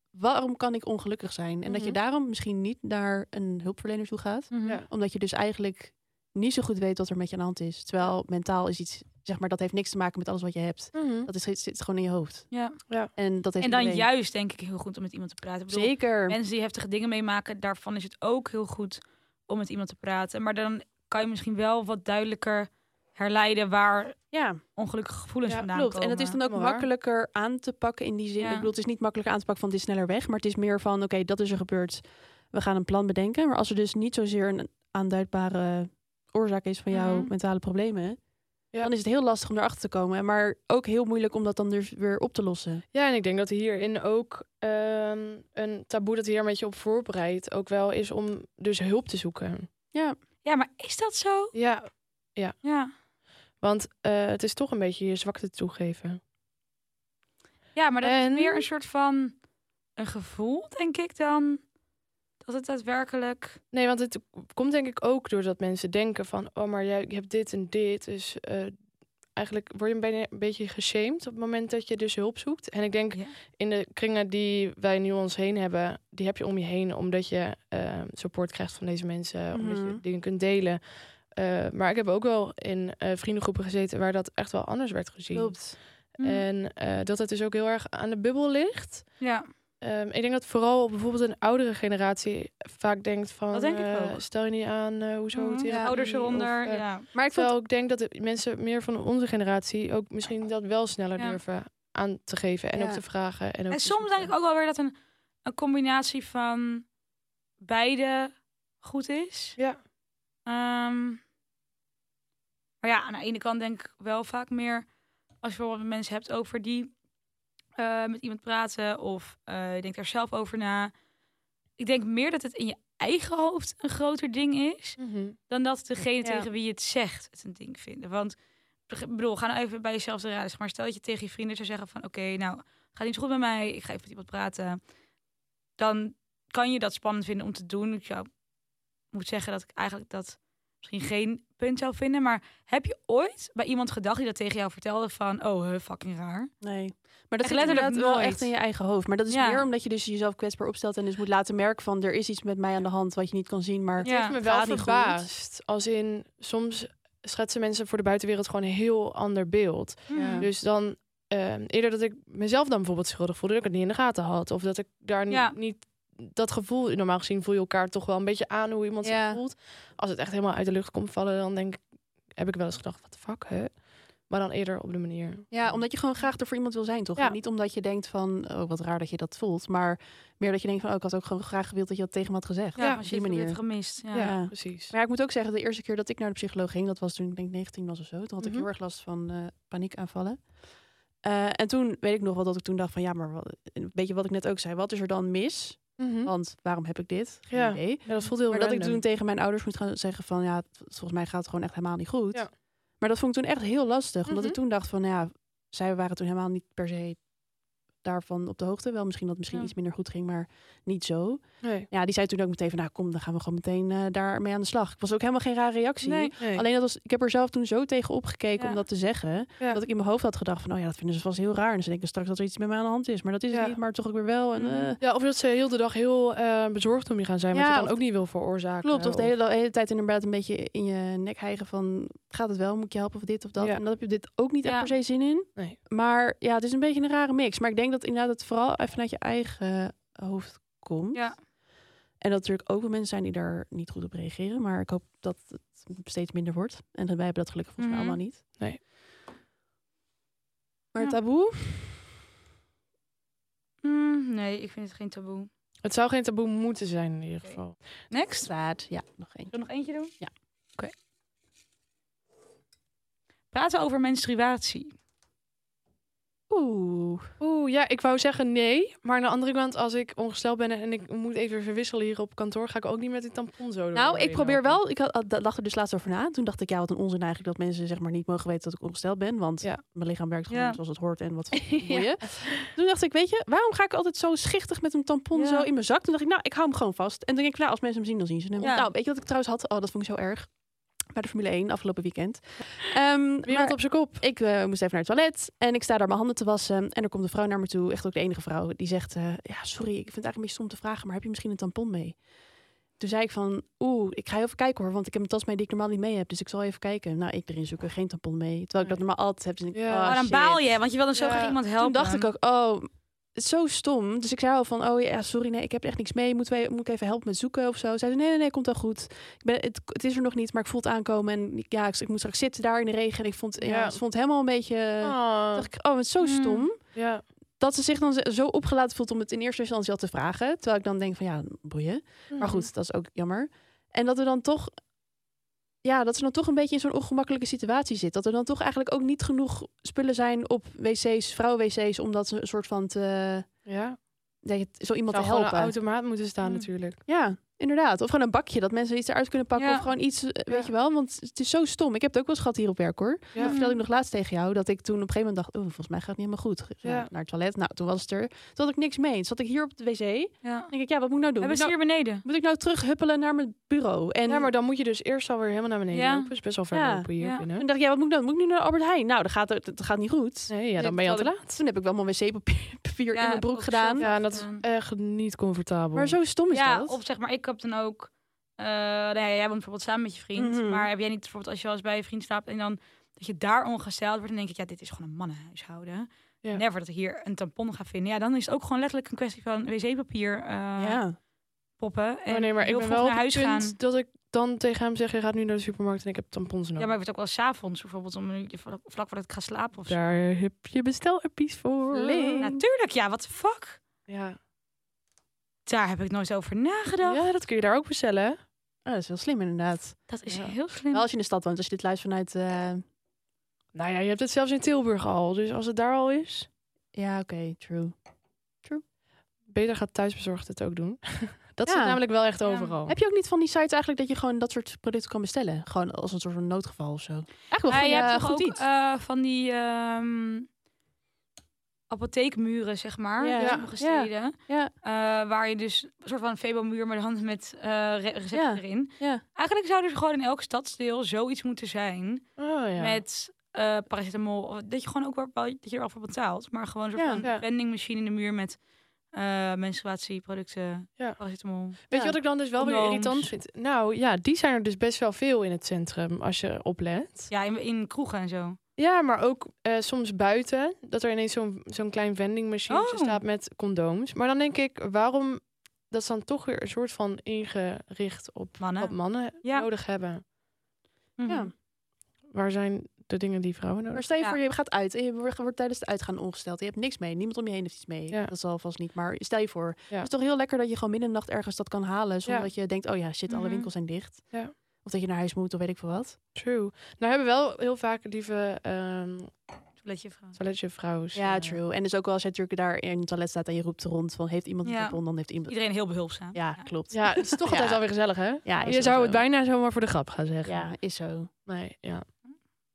Waarom kan ik ongelukkig zijn? En dat je Mhm. daarom misschien niet naar een hulpverlener toe gaat. Ja. Omdat je dus eigenlijk niet zo goed weet wat er met je aan de hand is. Terwijl mentaal is iets, zeg maar, dat heeft niks te maken met alles wat je hebt. Mhm. Dat is, zit zit gewoon in je hoofd. Ja. En dat heeft En dan iedereen. juist denk ik heel goed om met iemand te praten. Ik bedoel, Zeker. mensen die heftige dingen meemaken, daarvan is het ook heel goed om met iemand te praten. Maar dan kan je misschien wel wat duidelijker herleiden waar Ja, ongelukkige gevoelens Ja, dus vandaan klopt. komen. En het is dan ook Helemaal waar. makkelijker aan te pakken in die zin. Ja. Ik bedoel, het is niet makkelijker aan te pakken van het is sneller weg. Maar het is meer van, oké, dat is er gebeurd. We gaan een plan bedenken. Maar als er dus niet zozeer een aanduidbare oorzaak is van jouw Mhm. mentale problemen... Ja. dan is het heel lastig om erachter te komen. Maar ook heel moeilijk om dat dan dus weer op te lossen. Ja, en ik denk dat hierin ook ehm, een taboe dat hier een beetje op voorbereidt, ook wel is om dus hulp te zoeken. Ja, maar is dat zo? Ja, Ja. want eh, het is toch een beetje je zwakte toegeven. Ja, maar dat En- is meer een soort van een gevoel, denk ik dan. Dat het daadwerkelijk. Nee, want het komt denk ik ook doordat mensen denken van, oh, maar jij je hebt dit en dit. Dus eh, eigenlijk word je een bijna- een beetje geshamed op het moment dat je dus hulp zoekt. En ik denk Ja. in de kringen die wij nu om ons heen hebben, die heb je om je heen omdat je eh, support krijgt van deze mensen, omdat Mhm. je dingen kunt delen. Eh, maar ik heb ook wel in eh, vriendengroepen gezeten waar dat echt wel anders werd gezien. Mhm. En eh, dat het dus ook heel erg aan de bubbel ligt. Mm. Ja. Ehm, ik denk dat vooral bijvoorbeeld een oudere generatie vaak denkt van... Dat denk ik eh, ook. stel je niet aan, eh, hoezo Mhm. therapie? Ja, Ouders Of, eronder. eh, ja. Maar ik vond Terwijl ik denk dat de mensen meer van onze generatie ook misschien dat wel sneller Ja. durven aan te geven en Ja. ook te vragen. En, ook En te soms denk zoeken. ik ook wel weer dat een, een combinatie van beide goed is. Ja. Ehm, maar ja, aan de ene kant denk ik wel vaak meer... als je bijvoorbeeld mensen hebt over die eh, met iemand praten... of eh, je denkt er zelf over na. Ik denk meer dat het in je eigen hoofd een groter ding is... Mhm. dan dat degene Ja. tegen wie je het zegt het een ding vinden. Want ik bedoel, ga nou even bij jezelf te raden. Zeg maar stel dat je tegen je vrienden zou zeggen van... oké, nou, het gaat niet zo goed met mij. Ik ga even met iemand praten. Dan kan je dat spannend vinden om te doen. Ik zou, moet zeggen dat ik eigenlijk dat misschien geen punt zou vinden. Maar heb je ooit bij iemand gedacht die dat tegen jou vertelde van... oh, huh, fucking raar. Nee. Maar dat Echt zit letterlijk inderdaad wel nooit. echt in je eigen hoofd. Maar dat is Ja. meer omdat je dus jezelf kwetsbaar opstelt en dus moet laten merken van er is iets met mij aan de hand wat je niet kan zien, maar Het heeft me wel gaat niet goed. verbaasd. Als in, soms schetsen mensen voor de buitenwereld gewoon een heel ander beeld. Ja. Dus dan, ehm, eerder dat ik mezelf dan bijvoorbeeld schuldig voelde, dat ik het niet in de gaten had. Of dat ik daar ni- Ja. niet dat gevoel, normaal gezien voel je elkaar toch wel een beetje aan hoe iemand Ja. zich voelt. Als het echt helemaal uit de lucht komt vallen, dan denk ik, heb ik wel eens gedacht, wat de fuck, hè? Maar dan eerder op de manier. Ja, omdat je gewoon graag er voor iemand wil zijn, toch? Ja. En Niet omdat je denkt van, oh, wat raar dat je dat voelt. Maar meer dat je denkt van, oh, ik had ook gewoon graag gewild dat je dat tegen me had gezegd. Ja, Ja, als op je die het manier. hebt gemist. Ja. Ja, Ja. precies. Maar ja, ik moet ook zeggen, de eerste keer dat ik naar de psycholoog ging, dat was toen ik denk 19 was of zo. Toen had ik Mhm. heel erg last van eh, paniekaanvallen. Eh, en toen weet ik nog wel dat ik toen dacht van, ja, maar wat, een beetje wat ik net ook zei. Wat is er dan mis? Mhm. Want waarom heb ik dit? Geen Ja. idee. Ja, dat voelt heel Maar dat ik random. toen tegen mijn ouders moet gaan zeggen van, ja, het- volgens mij gaat het gewoon echt helemaal niet goed. Ja. Maar dat vond ik toen echt heel lastig. Omdat Mhm. ik toen dacht van, nou ja, zij waren toen helemaal niet per se daarvan op de hoogte. Wel misschien dat het misschien Ja. iets minder goed ging, maar niet zo. Nee. Ja, die zei toen ook meteen van, nou kom, dan gaan we gewoon meteen eh, daarmee aan de slag. Ik was ook helemaal geen rare reactie. Nee. Nee. Alleen dat was, ik heb er zelf toen zo tegen opgekeken Ja. om dat te zeggen. Ja. Dat ik in mijn hoofd had gedacht van, oh ja, dat vinden ze vast heel raar. En ze denken straks dat er iets met mij aan de hand is. Maar dat is het Ja. niet, maar toch ook weer wel. En, Mhm. eh, Ja, of dat ze heel de dag heel eh, bezorgd om je gaan zijn, wat Ja, je dan of- ook niet wil veroorzaken. klopt, of de hele, de hele tijd inderdaad een beetje in je nek hijgen van, gaat het wel, moet ik je helpen of dit of dat. Ja. En dan heb je dit ook niet Ja. echt per se zin in. Nee. Maar ja, het is een beetje een rare mix. Maar ik denk dat inderdaad het vooral even uit je eigen hoofd komt. Ja. En dat er natuurlijk ook wel mensen zijn die daar niet goed op reageren. Maar ik hoop dat het steeds minder wordt. En wij hebben dat gelukkig volgens Mhm. mij allemaal niet. Nee. Maar Ja. taboe? Mm, nee, ik vind het geen taboe. Het zou geen taboe moeten zijn in ieder geval. Next. Staat. Ja, nog één. Zullen we nog eentje doen? Ja. Oké. Praten over menstruatie. Oeh. Oeh, ja, ik wou zeggen nee. Maar aan de andere kant, als ik ongesteld ben en ik moet even verwisselen hier op kantoor, ga ik ook niet met die tampon zo. door Nou, de ik benen probeer lopen. wel. Ik had, had- dacht er dus laatst over na. Toen dacht ik, ja, wat een onzin eigenlijk dat mensen zeg maar niet mogen weten dat ik ongesteld ben. Want Ja. mijn lichaam werkt gewoon Ja. zoals het hoort en wat boeien. Toen dacht ik, weet je, waarom ga ik altijd zo schichtig met een tampon Ja. zo in mijn zak? Toen dacht ik, nou, ik hou hem gewoon vast. En toen denk ik, nou, als mensen hem zien, dan zien ze hem. Ja. Nou, weet je wat ik trouwens had? Oh, dat vond ik zo erg. Bij de Formule 1 afgelopen weekend. Ehm Wereld maar op zijn kop. ik eh, moest even naar het toilet en ik sta daar mijn handen te wassen. En er komt een vrouw naar me toe, echt ook de enige vrouw, die zegt: eh, Ja, sorry, ik vind het eigenlijk een beetje stom te vragen, maar heb je misschien een tampon mee? Toen zei ik van, oeh, ik ga even kijken hoor, want ik heb een tas mee die ik normaal niet mee heb. Dus ik zal even kijken. Nou, ik erin zoeken, geen tampon mee. Terwijl ik dat normaal altijd heb. Dus ik, oh, Ja. Ah, maar dan shit. baal je, want je wil dan zo Ja. graag iemand helpen. Toen dacht ik ook, oh, het is zo stom. Dus ik zei al van, oh ja, sorry, nee, ik heb echt niks mee. Moeten wij, moet ik even helpen met zoeken of zo? Zei ze, nee, nee, nee, komt wel goed. Ik ben, het, het is er nog niet, maar ik voel het aankomen. En ik- ja, ik, ik moet straks zitten daar in de regen. En ik vond, ja, Ja. ze vond het helemaal een beetje... Ah, dacht ik, oh, het is zo Hmm. stom. ja. Dat ze zich dan zo- zo opgelaten voelt om het in eerste instantie al te vragen. Terwijl ik dan denk van, ja, boeien. Maar Mhm. goed, dat is ook jammer. En dat er dan toch... Ja, dat ze dan toch een beetje in zo'n ongemakkelijke situatie zit. Dat er dan toch eigenlijk ook niet genoeg spullen zijn op wc's, vrouwen-wc's, om dat een soort van te, Mm-hmm. ja. dat je- zo iemand Zou te gewoon een helpen. automaat moeten staan Mm. natuurlijk. Ja, inderdaad. Of gewoon een bakje, dat mensen iets eruit kunnen pakken. Ja. Of gewoon iets, eh, weet je wel. Want het is zo stom. Ik heb het ook wel eens gehad hier op werk, hoor. Ja. Mhm. Dat vertelde ik nog laatst tegen jou. Dat ik toen op een gegeven moment dacht, oh, volgens mij gaat het niet helemaal goed. Ik ga Ja. Naar het toilet. Nou, toen was het er. Toen had ik niks mee. Toen zat ik hier op de wc. Dan Ja. denk ik, ja, wat moet ik nou doen? Hebben Moet ze ik nou, hier beneden? moet ik nou terug huppelen naar mijn bureau? En Ja, maar dan moet je dus eerst alweer helemaal naar beneden Ja. lopen. is best wel ver Ja. lopen hier Ja. binnen. toen dacht ik, ja, wat moet ik dan? Moet ik nu naar Albert Heijn? Nou, dat gaat, het- dat gaat niet goed. Nee, ja, dan ben je al te laat. Toen heb ik wel mijn wc-papier Ja, in mijn heb ik broek ook gedaan. zo. Ja, en dat is Gedaan. echt niet comfortabel. Maar zo stom is Ja, dat. of zeg maar, ik heb dan ook... eh nou ja, jij woont bijvoorbeeld samen met je vriend. Mhm. Maar heb jij niet bijvoorbeeld als je wel eens bij je vriend slaapt... en dan dat je daar ongesteld wordt... dan denk ik, ja, dit is gewoon een mannenhuishouden. Ja. Never dat ik hier een tampon ga vinden. Ja, dan is het ook gewoon letterlijk een kwestie van wc-papier eh, ja. poppen. En Oh nee, maar ik heel ben vroeg wel op naar huis het punt gaan. dat ik dan tegen hem zeggen, je gaat nu naar de supermarkt en ik heb tampons nodig. Ja, maar ik word ook wel s'avonds bijvoorbeeld om een uurtje vlak vlak voordat ik ga slapen of zo. Daar heb je bestelappies voor. Natuurlijk, ja, what the fuck? Ja. Daar heb ik nooit over nagedacht. ja, dat kun je daar ook bestellen. Ah, dat is heel slim inderdaad. Dat is Ja. heel slim. Wel als je in de stad woont, als je dit luistert vanuit... eh, Nou ja, je hebt het zelfs in Tilburg al. Dus als het daar al is, Ja, oké, true. beter gaat thuisbezorgd het ook doen. dat zit Ja. namelijk wel echt Ja. overal. Heb je ook niet van die sites eigenlijk dat je gewoon dat soort producten kan bestellen? Gewoon als een soort van noodgeval of zo. Eigenlijk wel Maar goeie- je hebt toch goed ook iets. eh, van die ehm, apotheekmuren, zeg maar, Ja. in sommige Ja. steden. Ja. Eh, waar je dus een soort van febo-muur, maar dan met eh re- recepten Ja. erin. Ja. Eigenlijk zou er gewoon in elk stadsdeel zoiets moeten zijn Oh ja. met eh, paracetamol. of Dat je gewoon ook wel, wel- dat je er wel voor betaalt. Maar gewoon een soort Ja. van Ja. vendingmachine in de muur met eh, menstruatieproducten, Ja. paracetamol. Weet Ja. je wat ik dan dus wel weer Condooms. irritant vind? Nou ja, die zijn er dus best wel veel in het centrum, als je oplet. Ja, in, in kroegen en zo. Ja, maar ook eh, soms buiten. Dat er ineens zo'n zo'n klein vendingmachine Oh. staat met condooms. Maar dan denk ik, waarom dat ze dan toch weer een soort van ingericht op Mannen. wat mannen Ja. nodig hebben. Mhm. Ja. Waar zijn de dingen die vrouwen nodig Maar stel je Ja. voor, je gaat uit en je wordt, wordt tijdens het uitgaan ongesteld. Je hebt niks mee, niemand om je heen heeft iets mee. Ja. Dat zal vast niet, maar stel je voor. Ja. Het is toch heel lekker dat je gewoon midden in de nacht ergens dat kan halen. Zonder Ja. dat je denkt, oh ja, shit, alle Mhm. winkels zijn dicht. Ja. Of dat je naar huis moet, of weet ik veel wat. True. Nou hebben wel heel vaak lieve ehm Toiletje vrouw. toiletjevrouws. Ja, eh, true. En dus ook wel als je natuurlijk daar in het toilet staat en je roept rond van, heeft iemand een Ja. tampon, dan heeft iemand... Iedereen heel behulpzaam. Ja, klopt. Ja, het is toch altijd Ja. alweer gezellig, hè? Ja, is je ook zou zo. het bijna zomaar voor de grap gaan zeggen. Ja, is zo. Nee, ja.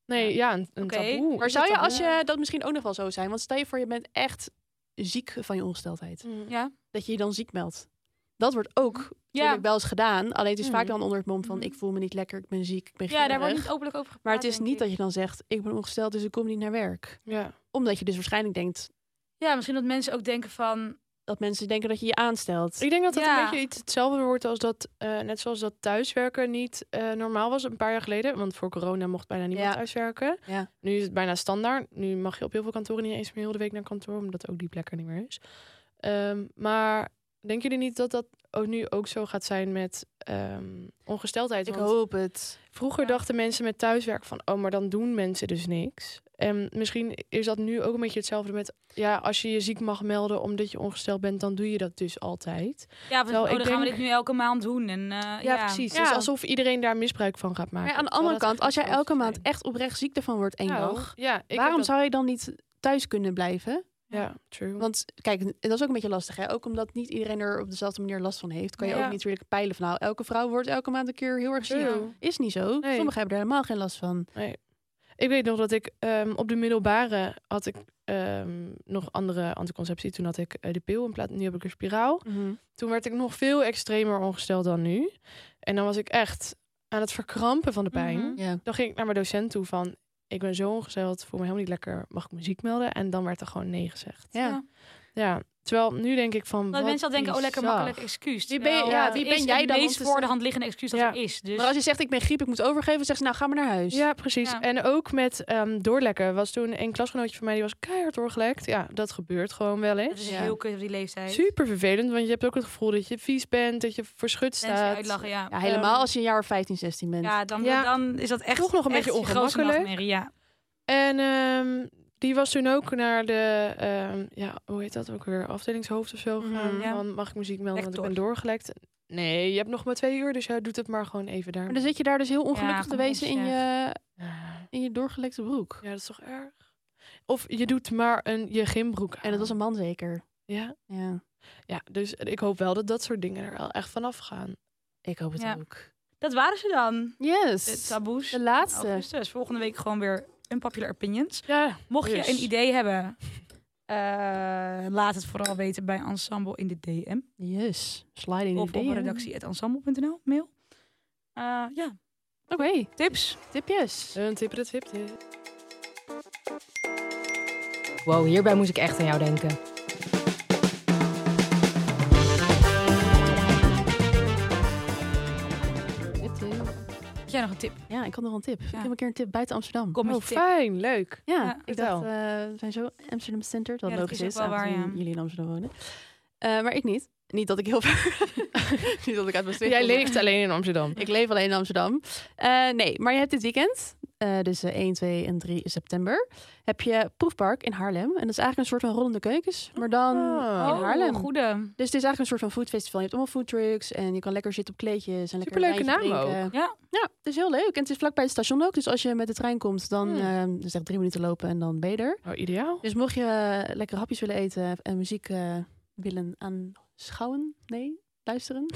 Nee, ja, een, een Oké. taboe. Maar zou je, als eh? je dat misschien ook nog wel zo zijn, want stel je voor, je bent echt ziek van je Mm. ongesteldheid. Ja. Ja. Dat je je dan ziek meldt. Dat wordt ook Mm. Ja. natuurlijk wel eens gedaan. Alleen het is vaak Mhm. dan onder het mom van Mhm. ik voel me niet lekker, ik ben ziek, ik ben Ja, daar wordt grieperig. niet openlijk over gepraat. Maar het is denk niet ik. dat je dan zegt ik ben ongesteld, dus ik kom niet naar werk. ja. Omdat je dus waarschijnlijk denkt Ja, misschien dat mensen ook denken van... dat mensen denken dat je je aanstelt. Ik denk dat dat Ja. een beetje iets hetzelfde wordt als dat, eh, net zoals dat thuiswerken niet eh, normaal was een paar jaar geleden. Want voor corona mocht bijna niemand Ja. thuiswerken. Ja. Nu is het bijna standaard. Nu mag je op heel veel kantoren niet eens meer heel de week naar kantoor, omdat ook die plek er niet meer is. Ehm, maar denken jullie niet dat dat ook nu ook zo gaat zijn met ehm, ongesteldheid? Ik Want- hoop het. Vroeger Ja. dachten mensen met thuiswerk van, oh, maar dan doen mensen dus niks. En misschien is dat nu ook een beetje hetzelfde met, ja, als je je ziek mag melden omdat je ongesteld bent, dan doe je dat dus altijd. Ja, van, Terwijl oh, ik dan gaan we denk- dit nu elke maand doen. En, eh, Ja, precies. Ja. Dus alsof iedereen daar misbruik van gaat maken. Maar aan de Terwijl andere dat kant, als jij echt niet elke zo maand is. echt oprecht ziek ervan wordt één Nou, dag, ja, ik heb waarom dat- Mm. zou je dan niet thuis kunnen blijven? Ja, true. Want kijk, dat is ook een beetje lastig. Hè? Ook omdat niet iedereen er op dezelfde manier last van heeft, kan je Ja. ook niet natuurlijk peilen van nou, elke vrouw wordt elke maand een keer heel erg ziek. True. Is niet zo. Nee. Sommigen hebben er helemaal geen last van. Ik weet nog dat ik ehm, op de middelbare had ik ehm, nog andere anticonceptie. Toen had ik eh, de pil in plaats, nu heb ik een spiraal. Toen werd ik nog veel extremer ongesteld dan nu. En dan was ik echt aan het verkrampen van de pijn. Mhm. Ja. Dan ging ik naar mijn docent toe van... ik ben zo ongesteld, voel me helemaal niet lekker. Mag ik me ziek melden? En dan werd er gewoon nee gezegd. Ja. Ja. Ja, terwijl nu denk ik van... Dat wat mensen al denken, oh, lekker bizar. makkelijk excuus. Wie ben je- Terwijl ja, het wie is ben jij het dan om meest te voor de zeggen- hand liggende excuus dat Ja. er is. Dus Maar als je zegt ik ben griep, ik moet overgeven, zegt ze nou ga maar naar huis. Ja, precies. Ja. En ook met ehm, doorlekken. Was toen een klasgenootje van mij, die was keihard doorgelekt. Ja, dat gebeurt gewoon wel dat eens. is Ja. heel kut op die leeftijd. Super vervelend, want je hebt ook het gevoel dat je vies bent, dat je verschut Mensen staat. uitlachen, ja. Ja, Ja, helemaal als je een jaar of 15, 16 bent. dan, ehm, Ja. dan is dat echt Toch nog een echt beetje je grootste ongemakkelijk. nachtmerrie, Ja. En ehm, die was toen ook naar de, ehm, ja, hoe heet dat ook weer, afdelingshoofd of zo Mhm. gegaan. Ja. Van, mag ik muziek melden, want ik ben Lector. doorgelekt. Nee, je hebt nog maar twee uur, dus jij doet het maar gewoon even daar. Maar dan zit je daar dus heel Ja, ongelukkig kom te op, wezen in zeg. je, Ja, in je doorgelekte broek. dat is toch erg? Of je doet maar een je gymbroek aan. En dat was een man zeker. Ja, Ja, ja, dus ik hoop wel dat dat soort dingen er wel echt vanaf gaan. ik hoop het Ja. ook. Dat waren ze dan. De Yes. taboes. De laatste. Augustus. Volgende week gewoon weer unpopular opinions. Ja, Mocht Dus. je een idee hebben, eh, laat het vooral weten bij Ensemble in de DM. Yes. Slide in Of de op DM. redactie.ensemble.nl, mail. Eh, ja, Oké, tips. tipjes. een tip, de tip, tip. Wow, hierbij moest ik echt aan jou denken. Eh, Had jij nog een tip? Ja, ik had nog wel een tip. Ik heb een keer een tip buiten Amsterdam. Kom met Oh, je tip. fijn, leuk. Ja, Ja, ik vertel. dacht, eh, we zijn zo Amsterdam Center, dat Ja, dat logisch is ook is, wel waar, aangezien ja. jullie in Amsterdam wonen. Eh, maar ik niet. Niet dat ik heel ver... niet dat ik uit Maastricht Jij kom. leeft alleen in Amsterdam. Ik leef alleen in Amsterdam. Eh, nee, maar je hebt dit weekend, eh, dus eh, 1, 2 en 3 september, heb je Proefpark in Haarlem. En dat is eigenlijk een soort van rollende keukens, maar dan Ah. Oh, in Haarlem. Oh, goede. Dus het is eigenlijk een soort van foodfestival. Je hebt allemaal foodtrucks en je kan lekker zitten op kleedjes. En lekker een Superleuke wijntje naam drinken. Ja. Ja, het is heel leuk. En het is vlakbij het station ook. Dus als je met de trein komt, dan Hmm. ehm, is het echt drie minuten lopen en dan ben je er. Oh, ideaal. Dus mocht je eh, lekkere hapjes willen eten en muziek eh, willen aanschouwen, nee, luisteren,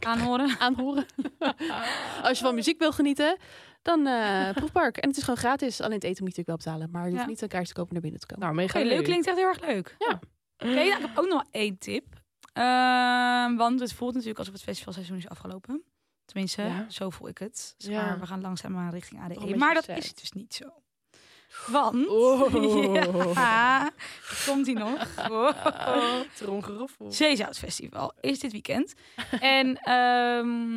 Aanhoren. aanhoren. Als je van muziek wil genieten, dan eh, proefpark. En het is gewoon gratis. Alleen het eten moet je natuurlijk wel betalen. Maar je hoeft Ja. niet een kaartje te kopen om naar binnen te komen. Nou, mega Oké, leuk klinkt echt heel erg leuk. Ja. Oké, nou, ik heb ook nog één tip. Ehm, want het voelt natuurlijk alsof het festivalseizoen is afgelopen. Tenminste, Ja. zo voel ik het. Dus Ja. maar we gaan langzaamaan richting Toch ADE. een Maar dat beetje is sad. het dus niet zo. Want... Oh. Ja, komt hij nou, nog. Oh. Tromgeroffel. Zeezout Festival is dit weekend. en ehm,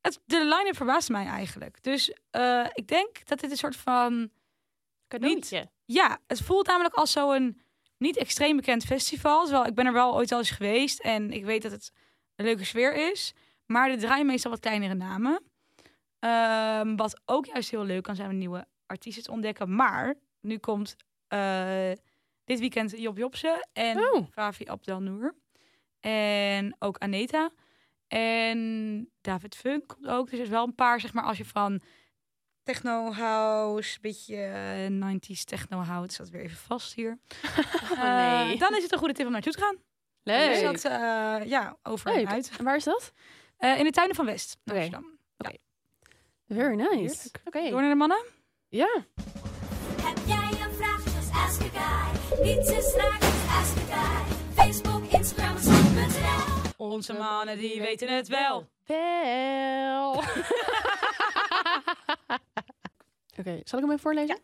het, de line-up verbaasde mij eigenlijk. Dus eh, ik denk dat dit een soort van... Cadeautje. Ja, het voelt namelijk als zo'n niet extreem bekend festival. Terwijl ik ben er wel ooit al eens geweest en ik weet dat het een leuke sfeer is. Maar er draaien meestal wat kleinere namen. Ehm, wat ook juist heel leuk kan zijn om nieuwe artiesten te ontdekken. Maar nu komt eh, dit weekend Job Jobsen en Oh. Favi Abdelnoer. En ook Aneta. En David Funk komt ook. Dus er is wel een paar, zeg maar, als je van techno house, een beetje eh, 90s techno houdt. Staat weer even vast hier. Oh, nee. Eh, dan is het een goede tip om naartoe te gaan. Nou, Dus Leuk. dat, eh, ja, over Leuk. en uit. En waar is dat? Eh, in de tuinen van West, Oké. Amsterdam. Very nice. Heerlijk. Oké. Door naar de mannen. Ja. Heb jij een vraag? Just ask a guy. Niets is raar, just ask a guy. Facebook, Instagram, Snap.nl. Onze mannen, die weten het wel. Wel. Oké, zal ik hem even voorlezen?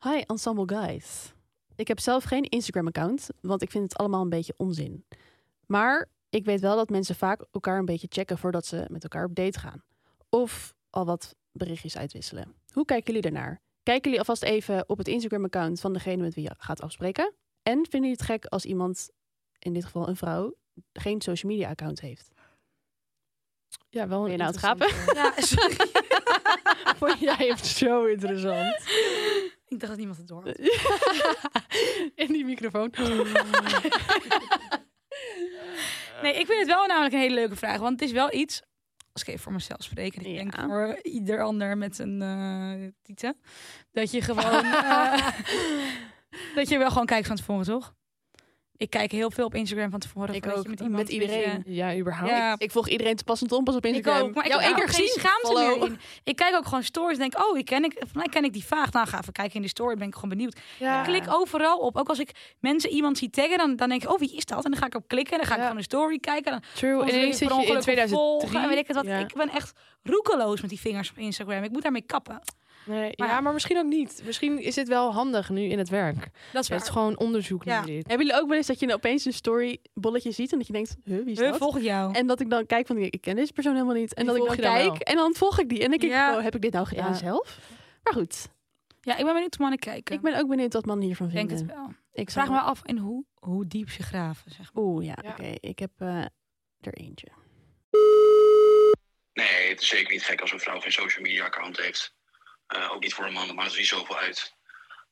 Hi Ensemble Guys. Ik heb zelf geen Instagram-account, want ik vind het allemaal een beetje onzin. Maar ik weet wel dat mensen vaak elkaar een beetje checken voordat ze met elkaar op date gaan. Of al wat berichtjes uitwisselen. Hoe kijken jullie daarnaar? Kijken jullie alvast even op het Instagram-account van degene met wie je gaat afspreken? En vinden jullie het gek als iemand, in dit geval een vrouw, geen social media-account heeft? Ja, wel een Ben je nou aan het interessante. Ja, sorry. Vond jij het zo interessant. ik dacht dat niemand het door had. In die microfoon. Nee, ik vind het wel namelijk een hele leuke vraag. Want het is wel iets, als ik even voor mezelf spreek... en ik Ja. denk voor ieder ander met een eh tieten... dat je gewoon... eh, dat je wel gewoon kijkt van tevoren, toch? Ik kijk heel veel op Instagram van tevoren. Ik voordat ook, je met, iemand met een beetje- iedereen. Ja, überhaupt. Ja, Ik volg iedereen te pas en te onpas op ik Instagram. ook, maar ik Jou heb één keer ook geen gezien. schaamte Hallo. meer in. Ik kijk ook gewoon stories en denk, oh, die ken ik, van mij ken ik die vaag. Nou, ga even kijken in de story, ben ik gewoon benieuwd. Ja. Klik overal op. Ook als ik mensen iemand zie taggen, dan, dan denk ik, oh, wie is dat? En dan ga ik op klikken en dan ga ik Ja. gewoon een story kijken. Dan True. Soms wil Ineens ik per zit je in ongeluk op 2003. volgen en weet ik het wat. Ja. Ik ben echt roekeloos met die vingers op Instagram. Ik moet daarmee kappen. Nee, Maar ja, ja. maar misschien ook niet. Misschien is dit wel handig nu in het werk. Dat is Het is gewoon onderzoek Ja. naar dit. Hebben jullie ook wel eens dat je nou opeens een story bolletje ziet en dat je denkt, huh, wie is dat? volg jou. En dat ik dan kijk van, ik ken deze persoon helemaal niet. En Die dat ik volg dan je dan kijk wel. en dan volg ik die. En dan denk ik, Ja. oh, heb ik dit nou gedaan Ja. zelf? Maar goed, Ja, ik ben benieuwd hoe mannen kijken. ik ben ook benieuwd wat mannen hiervan Ik denk vinden. het wel. Ik Vraag zou- me af in hoe, hoe diep ze graven, zeg maar. Oeh, ja, Ja. oké. Ik heb eh, er eentje. Nee, het is zeker niet gek als een vrouw geen social media account heeft. Eh, ook niet voor een man, dat maakt er niet zoveel uit.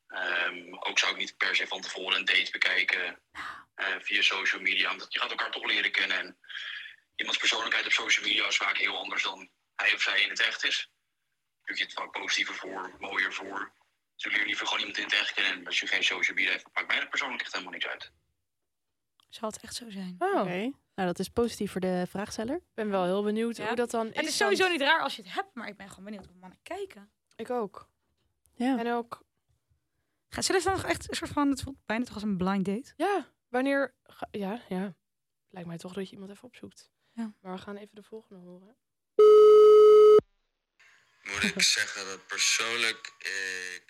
Ehm, ook zou ik niet per se van tevoren een date bekijken eh, via social media. Omdat je gaat elkaar toch leren kennen. En iemands persoonlijkheid op social media is vaak heel anders dan hij of zij in het echt is. Natuurlijk je het vaak positiever voor, mooier voor. Dus ik leer liever gewoon iemand in het echt kennen. En als je geen social media hebt, maakt mij dat persoonlijk echt helemaal niks uit. Zal het echt zo zijn? Oh, Oké. Nou, dat is positief voor de vraagsteller. ik ben wel heel benieuwd Ja. hoe dat dan is. Het is sowieso want niet raar als je het hebt, maar ik ben gewoon benieuwd hoe mannen kijken. Ik ook. Ja. En ook, Ga- Zullen ze dan nog echt een soort van, het voelt bijna toch als een blind date? ja, wanneer... ga- Ja, ja. Lijkt mij toch dat je iemand even opzoekt. Ja. Maar we gaan even de volgende horen. moet ik zeggen dat persoonlijk ik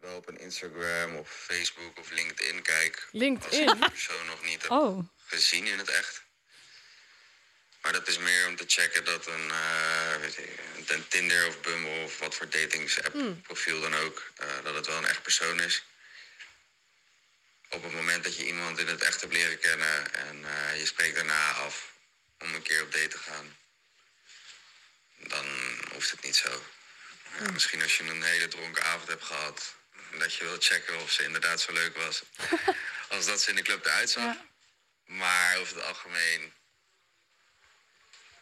wel op een Instagram of Facebook of LinkedIn kijk. Als ik LinkedIn. de persoon nog niet heb Oh, gezien in het echt. Maar dat is meer om te checken dat een, eh, weet ik, een Tinder of Bumble of wat voor datingsapp profiel dan ook, eh, dat het wel een echt persoon is. op het moment dat je iemand in het echt hebt leren kennen en eh, je spreekt daarna af om een keer op date te gaan, dan hoeft het niet zo. Ja, misschien als je een hele dronken avond hebt gehad, dat je wilt checken of ze inderdaad zo leuk was als dat ze in de club eruit zag. Maar over het algemeen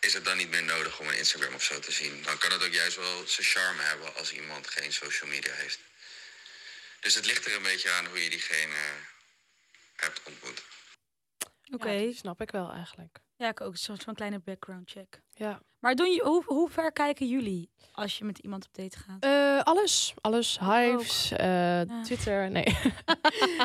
is het dan niet meer nodig om een Instagram of zo te zien. Dan kan het ook juist wel zijn charme hebben als iemand geen social media heeft. Dus het ligt er een beetje aan hoe je diegene eh, hebt ontmoet. Oké. Ja, snap ik wel eigenlijk. Ja, ik ook. Een soort van kleine background check. Ja. Maar doen je, hoe, hoe ver kijken jullie als je met iemand op date gaat? Eh, alles. Alles. Hives, eh, Ja. Twitter. Nee.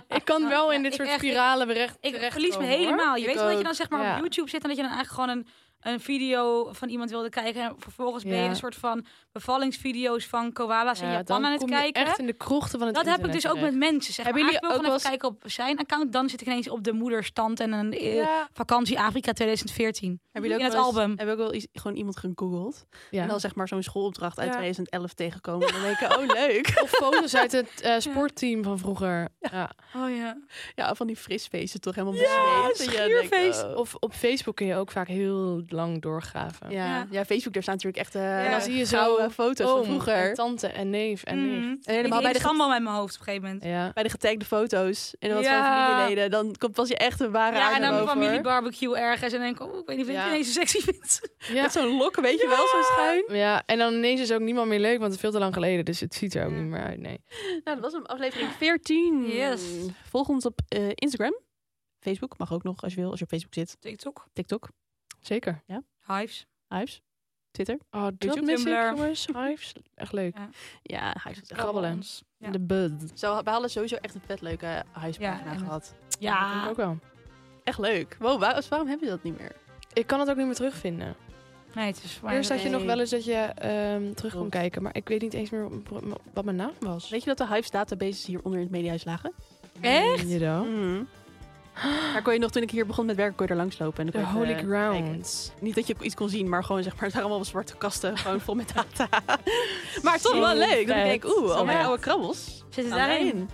ik kan Ja, wel ja, in dit ik soort echt- ik- spiralen berecht. Ik terechtkomen, verlies me hoor. helemaal. Je Ik weet wel dat je nou dan ook. zeg maar Ja. op YouTube zit en dat je dan eigenlijk gewoon een, een video van iemand wilde kijken. En vervolgens ben je Ja. een soort van bevallingsvideo's van koala's in Ja, Japan dan aan het kom je kijken. echt in de krochten van het Dat heb ik dus ook met mensen. Zeg maar. Hebben jullie Eigenlijk wil ik ook gewoon even kijken op zijn account. Dan zit ik ineens op de moederstand en een eh, Ja. vakantie Afrika 2014. Heb je ook In het wel eens- album. Heb je ook wel iets- gewoon iemand gegoogeld? Ja. En dan zeg maar zo'n schoolopdracht uit Ja. 2011 tegenkomen. En dan denk ik, oh leuk. Of foto's uit het eh, sportteam van vroeger. Ja. Oh ja. Ja, van die frisfeesten toch helemaal bezweet. Dat je denkt, Schuurfeest. oh. Of op Facebook kun je ook vaak heel lang doorgraven. Ja. Ja. Ja. Facebook, daar staan natuurlijk echt eh En dan zie je zo gouden foto's oom van vroeger. en Oh, tante en neef en Mm. nicht. En Ik helemaal bij bij de, het allemaal in mijn hoofd op een gegeven moment. Ja. bij de getagde foto's en wat van Ja. familieleden. Dan komt pas je echt een ware Ja, en dan aandacht een over. familiebarbecue ergens. En dan denk ik, oh, ik weet niet of ik Ja. het ineens zo sexy vind. Ja. Met zo'n lok, weet je wel, zo schuin. ja, en dan ineens is ook niemand meer leuk, want het is veel te lang geleden. Dus het ziet er ook niet meer uit, nee. Nou, dat was hem, aflevering 14. Yes. Volg ons op eh, Instagram. Facebook mag ook nog als je wil, als je op Facebook zit. TikTok, TikTok, Zeker. Hives. Hives, Twitter. Oh, dat YouTube, mis ik, Tumblr. jongens. Hives. Echt leuk. Ja, Hives. was echt- Grabbelen. Ons. Ja. De bud. Zo, we hadden sowieso echt een vet leuke Ja, huispagina en- gehad. Dat vind ik ja. ook wel. Echt leuk. Wow, waar- waarom heb je dat niet meer? Ik kan het ook niet meer terugvinden. Nee, het is voor Eerst mij. had je nog wel eens dat je ehm, terug kon Klopt. kijken, maar ik weet niet eens meer wat mijn naam was. Weet je dat de Hives databases hieronder in het mediahuis lagen? Echt? Je dan? Mhm. Daar kon je nog, toen ik hier begon met werken, kon je er langs lopen. En The dan kon je Holy even kijken. Grounds. Niet dat je iets kon zien, maar gewoon zeg maar, het waren allemaal zwarte kasten, gewoon vol met data. maar toch wel leuk. Dat ik denk, oeh, oh, al mijn vet. oude krabbels. Zit het staan daarin? erin.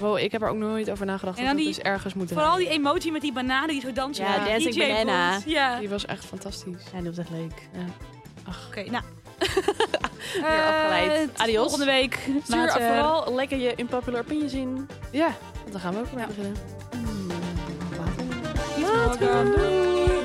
Wow, ik heb er ook nooit over nagedacht En dat dan dat die- dus ergens moet Vooral die draaien. emotie met die bananen die zo dansen. Ja, met die Dancing DJ -box. Banana. Ja. Die was echt fantastisch. Ja, dat was echt leuk. Oké, nou. Weer afgeleid. Adios. Volgende week. Eh, Stuur Later. vooral lekker je unpopular opinions in. Mm. Ja, want daar gaan we ook mee beginnen. Later. Later. Doei.